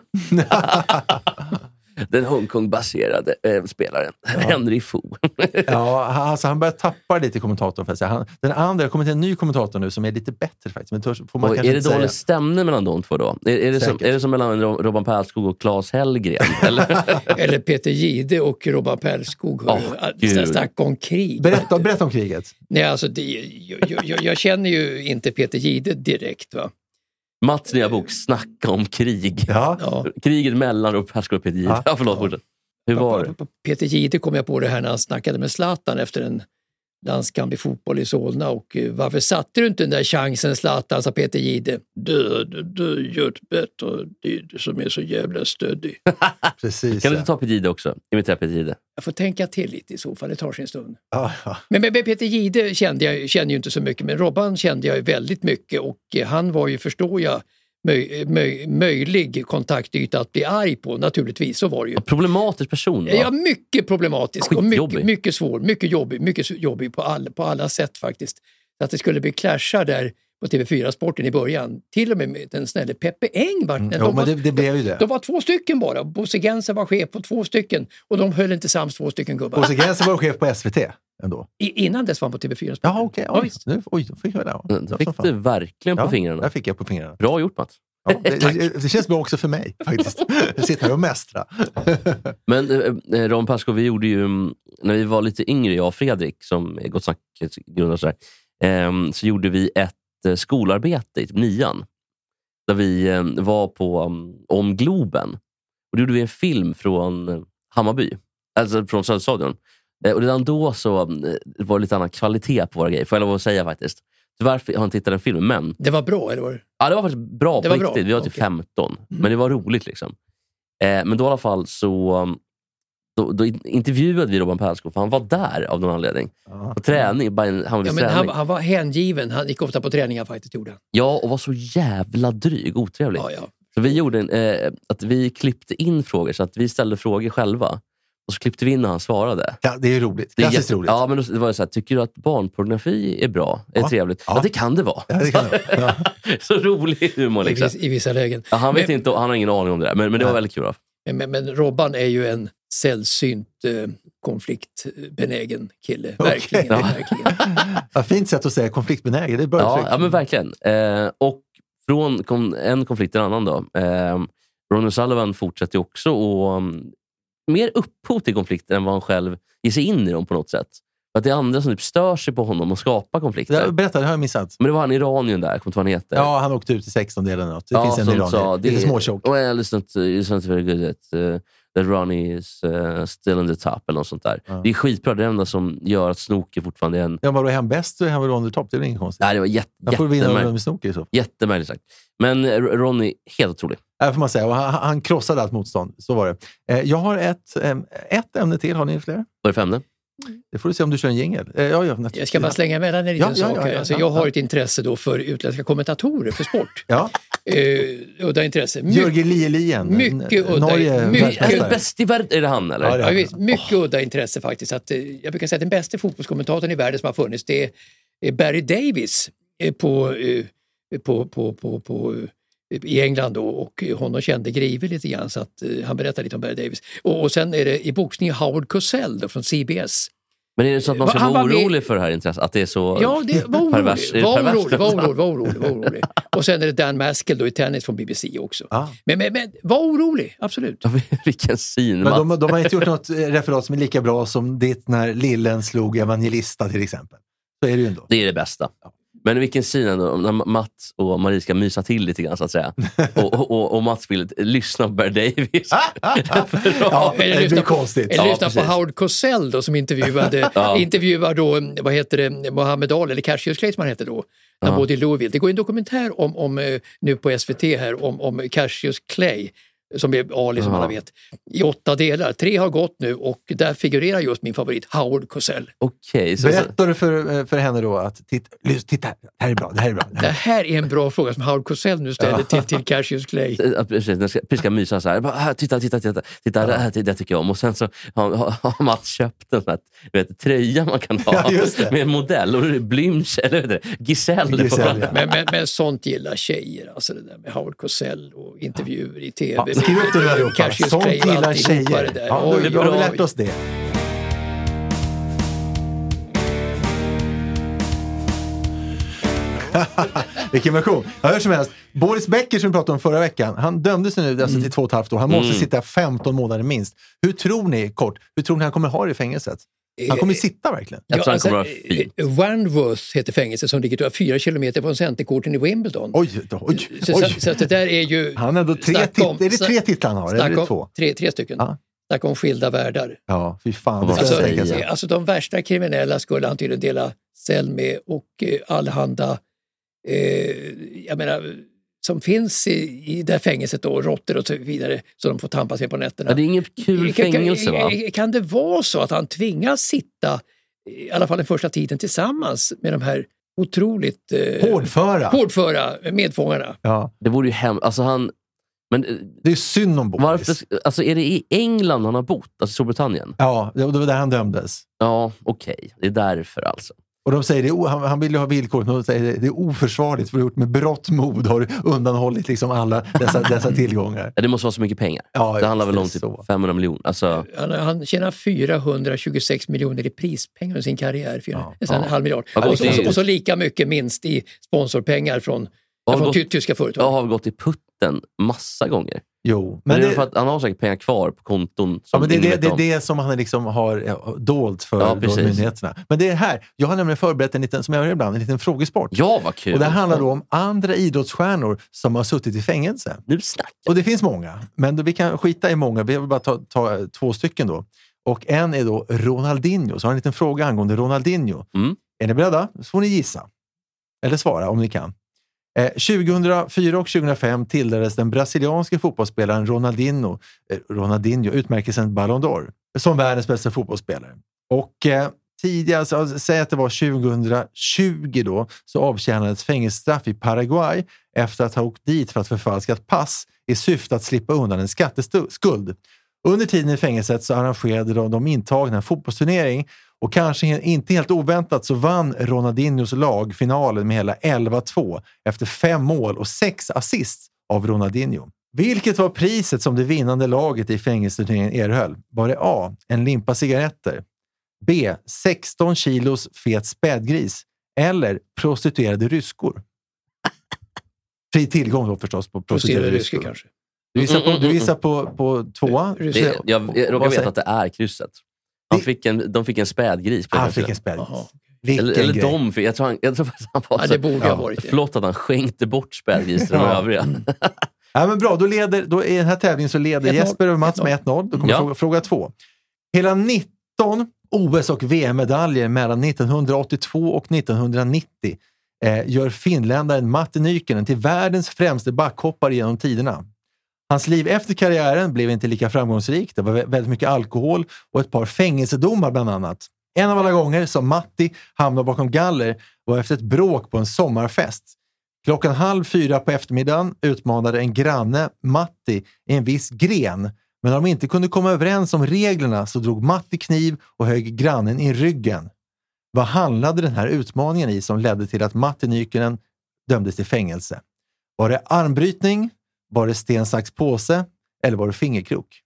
C: Den Hongkong-baserade eh, spelaren Henry Foo.
B: Ja, han- alltså, han börjar tappa lite i kommentatorn. För att säga. Han, den andra, det har kommit en ny kommentator nu som är lite bättre faktiskt. Men törs, får man
C: Och
B: kanske
C: är det
B: inte säga.
C: dålig stämning mellan de två då? Är, är, det, som,
B: Säkert.
C: är det som mellan Ro- Robban Pärlskog och Claes Hellgren? Eller?
A: Eller Peter Gide och Robban Pärlskog. hör
C: Åh,
A: du.
C: Gud.
A: Snä- Snacka om krig.
B: Berätta, berätta om kriget.
A: Nej, alltså, det, jag, jag- jag, jag känner ju inte Peter Gide direkt. Va?
C: Mats nya bok, Snacka om krig.
B: Ja.
A: Ja.
C: Kriget mellan Robban Pärlskog och Peter Jihde. Ja, förlåt, fortsätt. Hur var det?
A: Peter Gide kom jag på det här när han snackade med Zlatan efter en landskamp i fotboll i Solna och eh, varför satte du inte den där chansen Zlatan, sa Peter Gide. Du, du, du gör det bättre, du, du som är så jävla stöddig.
B: Precis.
C: Kan du
B: Ja.
C: inte ta Peter Jihde också? Imitera Peter Jihde.
A: Jag får tänka till lite i så fall, det tar sin stund.
B: Ja, ja.
A: Men, men, men Peter Gide kände jag kände ju inte så mycket, men Robban kände jag ju väldigt mycket och eh, han var ju, förstår jag, möj, möj, möjlig kontaktyta att bli arg på. Naturligtvis, så var det ju.
C: Problematisk person. Va?
A: Ja, mycket problematisk och mycket,
C: Skitjobbig.
A: mycket svår. Mycket jobbig, mycket jobbig på, all, på alla sätt faktiskt. Att det skulle bli clashar där på TV4 Sporten i början. Till och med med den snälle Peppe Eng. Var,
B: Jo, Mm, men det, det blev ju
A: de
B: det.
A: var två stycken bara. Bosse Genser var chef på två stycken och de höll inte sams två stycken gubbar.
B: Bosse Grenzer var chef på SVT ändå.
A: I, innan dess var han på TV4 Sporten.
B: Jaha, okej.
A: Ja,
B: oj,
A: visst.
B: nu, oj, då fick jag det. Ja,
C: Det
B: som
C: Mm, fick
B: fan.
C: du verkligen på
B: Ja,
C: fingrarna.
B: Där fick jag på fingrarna.
C: Bra gjort Mats.
B: Ja, det, det, det känns bra också för mig faktiskt. Jag sitter här och mästrar.
C: Men eh, eh, Ron Pasco, vi gjorde ju, mm, när vi var lite yngre, jag och Fredrik, som är Gott Snack grundar och sådär, ehm, så gjorde vi ett eh, skolarbete i typ nian. Där vi eh, var på um, Om Globen. Och då gjorde vi en film från eh, Hammarby, alltså från Söderstadion. Eh, och redan då så mm, det var det lite annan kvalitet på våra grejer, får jag lov att säga faktiskt. Tyvärr har jag inte tittat den filmen, men
A: Det var bra, eller var det?
C: Ja, det var faktiskt bra
A: Det
C: på
A: var bra,
C: riktigt. Vi var typ
A: okej. Mm.
C: 15, men det var roligt. liksom. Eh, men då i alla fall så um, då, då intervjuade vi Robban Persko, för han var där av någon anledning.
B: Ja.
C: På träning, bara en Hammarbys
A: Ja, men han,
C: träning.
A: han var hängiven. Han gick ofta på träningar faktiskt, gjorde han.
C: Ja, och var så jävla dryg. Otrevlig.
A: Ja, ja.
C: Så vi gjorde en, eh, att vi klippte in frågor, så att vi ställde frågor själva. Och så klippte vi in när han svarade.
B: Ja, det är ju roligt.
C: Det är
B: Klassiskt
C: jätte-
B: roligt.
C: Ja, men då, det var ju så här, tycker du att barnpornografi är bra? Är
B: Ja.
C: trevligt? Ja.
B: Ja.
C: det kan det vara.
B: Ja, det kan jag. Ja.
C: så rolig humor.
A: I,
C: Liksom.
A: vis- I vissa lägen.
C: Ja, han, vet inte, han har ingen aning om det där, men, men det var
B: Nej.
C: väldigt kul.
A: Men, men, men Robban är ju en sällsynt eh, konfliktbenägen kille. Verkligen.
C: Ja.
A: verkligen.
B: Vad fint sätt att säga konfliktbenägen. Det är bra
C: Ja,
B: uttryck.
C: ja men verkligen. Eh, och från kom en konflikt till en annan. Då. Eh, Ronny Sullivan fortsätter ju också och um, mer upphov till konflikter än vad han själv ger sig in i dem på något sätt. För att det är andra som typ stör sig på honom och skapar
B: Det
C: konflikter.
B: där- Berätta, det har jag missat.
C: Men det var han iranien där, jag kommer inte ihåg vad han heter.
B: Ja, han åkte ut i 16 eller något. Det
C: Ja,
B: finns en
C: som
B: iranier. Lite småtjock.
C: Well, it's not, it's not very good at, uh, that Ronnie is uh, still on the top eller något sånt där.
B: Ja.
C: Det är skitbra. Det är det enda som gör att snooker fortfarande är en...
B: Ja, vadå, är han bäst så är han väl under topp. Det är väl inget konstigt.
C: Nej, det var jätte,
B: han får vinna
C: jättemärk-
B: över med snooker i så fall.
C: jättemärkligt sagt. Men eh, Ronnie, helt otrolig.
B: Ja, får man säga. Och han, han krossade allt motstånd. Så var det. Eh, Jag har ett, eh, ett ämne till. Har ni fler?
C: Vad är det för ämne?
B: Det får du se om du kör en jingel. Eh, Ja, ja,
A: Jag ska bara slänga emellan en liten
B: Ja, ja,
A: sak.
B: ja,
A: här.
B: ja,
A: alltså,
B: ja,
A: jag
B: ja.
A: har ett intresse då för utländska kommentatorer för sport.
B: Ja.
A: Eh, udda intresse. My-
B: Jörgen Lielien.
A: mycket udda-
B: Norge,
A: mycket-
C: Är det
B: världsmästare.
C: bäst i världen? Är det han eller?
B: Ja, det
A: Ja, visst, mycket udda intresse faktiskt. Att, eh, jag brukar säga att den bästa fotbollskommentatorn i världen som har funnits det är eh, Barry Davis eh, på, eh, på, på, på, på, eh, i England då, och honom kände Grive lite grann så att eh, han berättar lite om Barry Davis. Och, och sen är det i boxning Howard Cosell då, från CBS.
C: Men är det så att man ska
A: Han
C: vara
A: var med-
C: orolig för det här intresset? Att det är så
A: Ja, det var orolig.
C: pervers? är det
A: Var
C: pervers?
A: orolig, var orolig, var orolig, var orolig. Och sen är det Dan Maskell då i tennis från BBC också.
B: Ja.
A: Men, men, men var orolig, absolut.
C: Ja, Vilken syn.
B: Men
C: Mats.
B: de, de har inte gjort något eh, referat som är lika bra som ditt när Lillen slog Evangelista till exempel. Så är det ju ändå.
C: Det är det bästa. Men vilken syn ändå, när Mats och Marie ska mysa till lite grann så att säga. Och, och- och, och Mats vill lyssna på Bear Davis.
B: Ah! Ja,
A: Eller
B: det blir
A: lyssna på-
B: konstigt.
C: Ja,
A: Eller lyssna på
C: precis.
A: Howard Cosell då, som intervjuade,
C: Ja.
A: intervjuar då, vad heter det, Mohammed Ali, eller Cassius Clay som han hette då. Han
C: Ja.
A: bodde i Louisville. Det går en dokumentär om, om, eh, nu på SVT här om, om Cassius Clay, som är Ali som
C: Ja.
A: alla vet, i åtta delar. Tre har gått nu och där figurerar just min favorit Howard Cosell.
C: Okej, så, så,
B: Berättar du för, eh, för henne då att titta, lys- titta, det här är bra, det här är bra. Det
A: Det
B: här.
A: här är en bra fråga som Howard Cosell nu ställer till, till Cassius Clay.
C: att precis, när ska, precis ska mysa så här. Bara, här titta, titta, titta. titta det, här, det tycker jag om. Och sen så har, har- har Mats köpt en sån här, du vet, tröja man kan ha
B: Ja, just det.
C: med en modell. Och då är det Blümsch, eller vad heter det? Giselle.
B: Giselle, ja.
A: Men, men, men sånt gillar tjejer, alltså det där med Howard Cosell och intervjuer i tv.
B: Ja, skriv upp det där allihopa.
A: Cassius
B: Sånt
A: Clay och
B: gillar
A: alltihopa
B: tjejer.
A: det där.
B: Ja,
A: Oj,
B: nu har vi
A: oj.
B: lärt oss det. Vilken version. Ja, hur som helst, Boris Becker som vi pratade om förra veckan, han dömdes ju nu alltså,
A: Mm.
B: till två och ett halvt år. Han måste sitta 15 månader minst. Hur tror ni, kort, hur tror ni han kommer ha det i fängelset? Han
A: Eh,
B: kommer ju sitta verkligen.
C: Jag tror han kommer
A: alltså,
C: vara fin.
A: eh, Wanworth heter fängelset som ligger tror jag, fyra kilometer från centercourten i Wimbledon.
B: Oj, då, oj,
A: så,
B: oj.
A: Så, så att det där är ju...
B: Han har ändå tre
A: Snacka om-
B: titlar. Är det tre
A: snack-
B: titlar han har?
A: snacka
B: Eller är det
A: om-
B: två?
A: Tre, tre stycken.
B: Ja.
A: Snacka om skilda världar.
B: Ja, fy fan. Det
C: Vad
B: ska
A: Alltså,
B: jag tänka
C: säger
B: sig.
A: eh, alltså de värsta kriminella skulle han tydligen dela cell med och eh, allehanda, eh, jag menar, som finns i, i det här fängelset då, råttor och så vidare, som de får tampas med på nätterna.
C: Ja, det är inget kul
A: Kan-
C: fängelse va?
A: Kan, kan det vara så att han tvingas sitta, i alla fall den första tiden, tillsammans med de här otroligt eh,
B: Hårdföra!
A: hårdföra medfångarna.
B: Ja.
C: Det vore ju hemskt. Alltså han... Men eh,
B: Det är synd om Boris.
C: varför... Alltså är det i England han har bott? Alltså Storbritannien?
B: Ja, det det var där han dömdes.
C: Ja, okej. Det är därför alltså.
B: Och de säger det, är o- han, han vill ju ha villkor, men de säger det, det är oförsvarligt för du har gjort med brått mod har du undanhållit liksom alla dessa, dessa tillgångar.
C: Ja, Det måste vara så mycket pengar.
B: Ja,
C: Det handlar väl om
B: precis
C: typ
B: så.
C: 500 miljoner. Alltså,
A: Han, han tjänar 426 miljoner i prispengar i sin karriär. Fyra,
B: Ja.
A: nästan
C: Ja.
A: en halv miljard.
C: Ja,
A: och, så,
C: det
A: och,
C: är-
A: så, och så lika mycket minst i sponsorpengar från,
C: har
A: från
C: gått,
A: ty, tyska företag.
C: jag har gått i putten massa gånger.
B: Jo,
C: Men
B: men
C: det är för
B: det,
C: att han har säkert pengar kvar på konton. Som
B: ja, men det, är
C: ingen
B: det,
C: vet
B: det är
C: om.
B: det som han liksom har eh, dolt för
C: Ja,
B: då
C: precis.
B: myndigheterna. Men det är här, jag har nämligen förberett en liten, som jag gör ibland, en liten frågesport.
C: Ja, vad kul!
B: Och det handlar då om andra idrottsstjärnor som har suttit i fängelse.
C: Nu snackar
B: Och det finns många, men då, vi kan skita i många. Vi vill bara ta, ta eh, två stycken då. Och en är då Ronaldinho. Så har jag en liten fråga angående Ronaldinho.
C: Mm.
B: Är ni beredda? Så får ni gissa. Eller svara om ni kan. Eh, 2004 och 2005 tilldelades den brasilianske fotbollsspelaren Ronaldinho, eh, Ronaldinho utmärkelsen Ballon d'Or som världens bästa fotbollsspelare. Och eh, tidigare, alltså, alltså, säg att det var 2020 då, så avtjänades fängelsestraff i Paraguay efter att ha åkt dit för att förfalska ett pass i syfte att slippa undan en skatteskuld. Under tiden i fängelset så arrangerade de, de intagna en fotbollsturnering och kanske he- inte helt oväntat så vann Ronaldinhos lag finalen med hela 11-2 efter fem mål och sex assist av Ronaldinho. Vilket var priset som det vinnande laget i fängelseturneringen erhöll? Var det A. En limpa cigaretter. B. 16 kilos fet spädgris. Eller prostituerade ryskor. Fri tillgång då förstås på
A: Prostituerade
B: prostituerade
A: ryskor
B: ryskor.
A: kanske.
B: Du gissar på,
C: Mm, mm,
B: du
C: mm,
B: gissar på, på tvåa?
A: Det-
C: det.
B: Så-
C: Jag, jag, råkar
B: vad
C: veta
B: säger-
C: att det är krysset. Han
B: Det-
C: fick en, de fick en spädgris. På
B: Han
C: den
B: Ah, fick en
C: tiden.
A: Jaha.
B: spädgris. Vilken
C: eller eller
B: grej.
C: de fick. Jag tror, han, jag tror att han var
A: Ja,
C: så,
A: det borde
B: ja.
A: ha varit det.
C: Flott att han skänkte bort spädgris till de
B: Ja.
C: övriga.
B: Ja, men bra, då leder, då I den här tävlingen så leder
A: 1-0.
B: Jesper över Mats med 1-0. Då kommer
C: Ja.
B: fråga, fråga två. Hela 19 OS och VM-medaljer mellan 1982 och 1990 eh, gör finländaren Matti Nykänen till världens främste backhoppare genom tiderna. Hans liv efter karriären blev inte lika framgångsrikt. Det var vä- väldigt mycket alkohol och ett par fängelsedomar bland annat. En av alla gånger som Matti hamnade bakom galler var efter ett bråk på en sommarfest. Klockan halv fyra på eftermiddagen utmanade en granne Matti i en viss gren. Men när de inte kunde komma överens om reglerna så drog Matti kniv och högg grannen i ryggen. Vad handlade den här utmaningen i som ledde till att Matti Nykänen dömdes till fängelse? Var det armbrytning? Var det sten, sax, påse? Eller var det fingerkrok?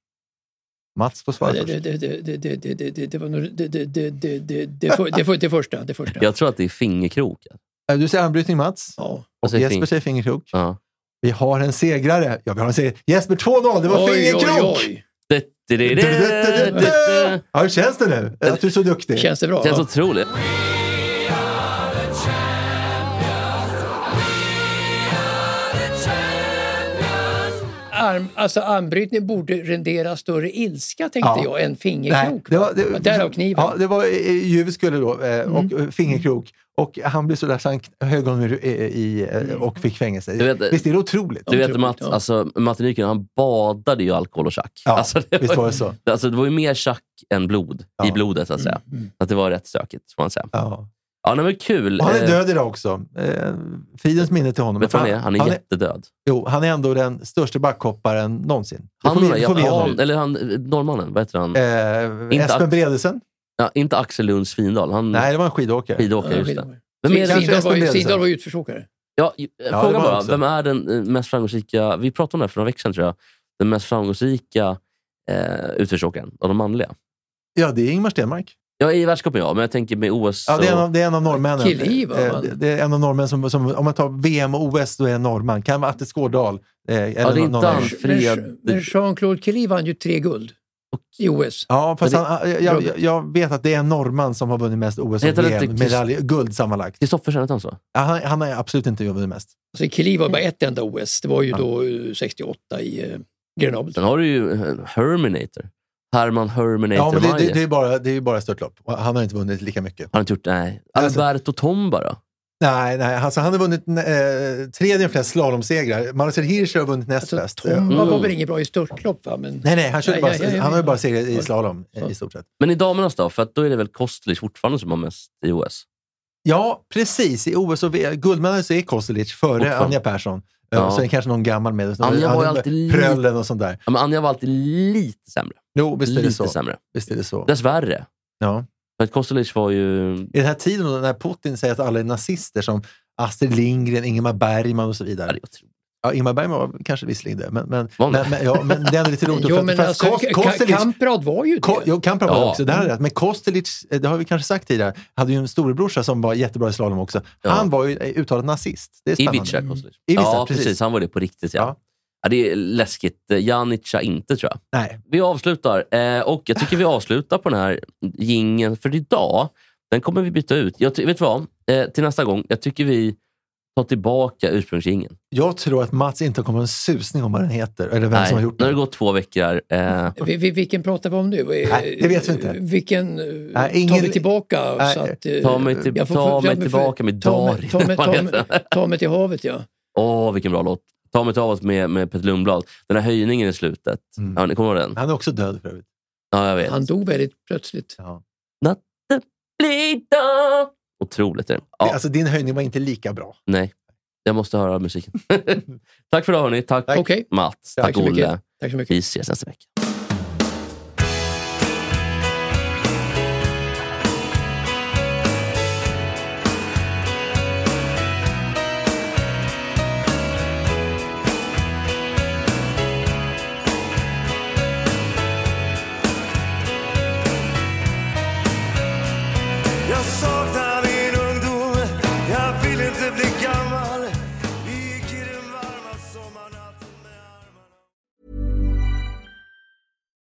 B: Mats får svara
A: Ja,
B: först.
A: Det det- det- det- det- det- det- det- det var nog- det- det- det- det- det- det för- det för- det första. Det första.
C: Jag tror att det är fingerkrok.
B: Eh, Du säger armbrytning Mats
A: Ja.
B: och
C: säger
B: Jesper
C: fing-
B: säger fingerkrok.
C: Ja.
B: Vi har en segrare. Ja, vi har en segrare. Jesper 2-0, det var
A: Oj, oj,
B: fingerkrok!
A: oj.
C: Det, det, det, det, det, det.
B: Ja, hur känns det nu? Att du är så duktig?
A: Känns det bra?
C: Känns
A: Ja.
C: otroligt.
A: Arm, alltså armbrytning borde rendera större ilska, tänkte
B: Ja.
A: jag, än
B: Nej,
A: fingerkrok.
B: det var, det,
A: Därav kniven. Mm.
B: Ja, det var eh, Juve skulle då eh, och eh, fingerkrok. Och han blev så där så han kn- högg honom i, eh, i, eh, och fick fängelse.
C: Du vet- eh,
B: Visst är det otroligt?
C: Du vet
A: Otroligt,
C: Mats,
A: ja.
C: alltså, Martin Nykänen, han badade ju i alkohol och tjack.
B: Ja,
C: alltså, det
B: Visst var
C: var,
B: det så?
C: alltså, det var ju mer tjack än blod i
B: Ja. Mm,
C: blodet, så att säga. Att det var rätt stökigt, får man säga.
B: Ja.
C: Ja, nej, men kul.
B: Och han är
C: Eh,
B: död idag också. Eh, fridens minne till honom.
C: Vet du vad han är?
B: Fan,
C: Han är jättedöd.
B: jo, han är ändå den största backhopparen någonsin. Det
C: Han,
B: får vi-
C: den där
B: det får vi ge
C: jävla-
B: honom.
C: eller han, eh, norrmannen, vad heter han?
B: Eh,
C: Inte Mm.
B: Espen
C: att-
B: Bredesen?
C: Ja, inte Axel Lund Svindal. Han
B: Nej, det var en skidåkare.
C: skidåkare, just det. Vem är
A: Svindal
C: den,
B: Kanske
A: var ju- Svindal
B: Espen Bredesen.
A: var ju utförsåkare.
C: ja, ju- eh,
B: det
C: fråga
B: var
C: bara,
B: också.
C: vem är den eh, mest framgångsrika, vi pratade om det här för några veckor sedan tror jag, den mest framgångsrika eh, utförsåkaren av de manliga?
B: Ja, det är Ingmar Stenmark.
C: Ja, i världscupen ja, men jag tänker med OS.
B: Ja, det, är en
C: och-
B: av, det är en av norrmännen.
A: Killiv, va?
B: Eh, det- det är en av norrmännen som, som, om man tar VM och OS, då är en norrman. Kan vara Atte Skårdal. Eh, eller
C: det är
B: någon
C: inte
B: annan.
C: han. Fred-
A: Men, men Jean-Claude Kelly vann ju tre guld i OS.
B: Ja, fast
C: Men det-
B: han, jag, jag, jag vet att det är en norrman som har vunnit mest OS och
C: Heter det inte Chris-
B: VM-medaljer. Guld sammanlagt.
C: Kristoffersen, hette han så?
B: Ja, han, han har absolut inte vunnit mest.
A: Alltså, Kelly var bara ett enda OS. Det var ju då eh, 68 i eh, Grenoble.
C: Sen har du ju eh, Herminator. Herman Herminator
B: Ja, men det, det,
C: Meyer.
B: det är bara, det är ju bara störtlopp. Och Han har inte vunnit lika mycket.
C: Har han inte gjort? Nej.
B: Alltså-
C: Alberto Tomba då?
B: Nej, nej alltså, han har vunnit eh, tredje flest slalomsegrar. Marcel Hirscher har vunnit näst
A: Alltså,
B: flest.
A: Tomba
C: Mm.
A: var väl ingen bra i störtlopp, va? Men,
B: Nej, nej, han, körde
A: Ja,
B: bara,
A: ja, ja, ja,
B: han har ju
A: ja.
B: bara segrat i slalom eh, i stort sett.
C: Men i damernas då? För att då är det väl Kostlich fortfarande som har mest i OS?
B: Ja, precis. I OS och V- guldmedalj så är Kostelic före
C: Fortfarande.
B: Anja Persson.
C: Ja.
B: Ja. Så är det kanske någon gammal med.
C: Anja
B: Ja,
C: har ju
B: det-
C: alltid lite-
B: Pröllen och sånt där.
C: Ja, men Anja var alltid lite sämre.
B: Jo, visst är det
C: lite
B: så.
C: sämre.
B: Visst är det så.
C: Dessvärre.
B: Ja.
C: För att Kostelic var ju...
B: I den här tiden då, när Putin säger att alla är nazister som Astrid Lindgren, Ingemar Bergman och så
C: Ja, det
B: vidare.
C: är otroligt.
B: Ja, Ingemar Bergman var kanske visserligen det, men, men,
C: Var han
B: men,
C: det?
B: men, ja, men det är ändå lite roligt.
A: Jo,
B: För-
A: men
B: för att
A: alltså,
B: Kost-
A: Ka-
B: Kostelic-
A: Kamprad var ju
B: Ko-
A: det.
B: Jo, Kamprad var
C: Ja.
B: det också. Det här är rätt. Men Kostelic, eh, det har vi kanske sagt tidigare, hade ju en storebrorsa som var jättebra i slalom också.
C: Ja.
B: Han var ju eh, uttalad nazist. Det är spännande.
C: Ivica Kostelic.
B: Ivica,
C: ja,
B: precis.
C: precis. Han var det på riktigt. Ja.
B: Ja.
C: Ja. det är läskigt. Eh, Janica inte, tror jag.
B: Nej.
C: Vi avslutar. Eh, och Jag tycker vi avslutar på den här gingen för idag. Den kommer vi byta ut. Jag ty- vet du vad? Eh, till nästa gång. Jag tycker vi tar tillbaka ursprungsgingen.
B: Jag tror att Mats inte kommer en susning om vad den heter, eller vem
C: Nej,
B: som har gjort
C: Nu har det
B: den.
C: gått två veckor här. Eh,
A: Vi, vi, vilken pratar vi om nu?
B: Nej, det vet vi inte.
A: Vilken eh,
B: Nej,
A: tar
B: ingen-
A: vi tillbaka?
B: Nej,
A: så att, eh,
C: ta mig, till,
A: jag får-
C: ta
A: jag
C: mig
A: får-
C: tillbaka med
A: ta mig-
C: Darin.
A: ta mig-
C: Vad
A: ta
C: heter
A: mig-
C: den?
A: Ta mig till havet, ja.
C: Åh, vilken bra låt. Ta mig till havet med, med Peter Lundblad. Den här höjningen i slutet.
B: Mm.
C: Ja, ni kommer ihåg den?
B: Han är också död för övrigt.
C: Ja, jag vet.
A: Han dog väldigt plötsligt.
B: Ja.
C: Lita. Otroligt är det. Ja,
B: Alltså, din höjning var inte lika bra.
C: nej. Jag måste höra musiken. Tack för idag hörni. Tack,
A: Okej,
C: Mats.
A: Tack
C: Tack,
A: så mycket.
C: Olle.
A: tack så mycket.
C: Vi ses nästa vecka.
G: Jag saknar min ungdom, jag vill inte bli gammal Vi gick i den varma sommarnatten med armarna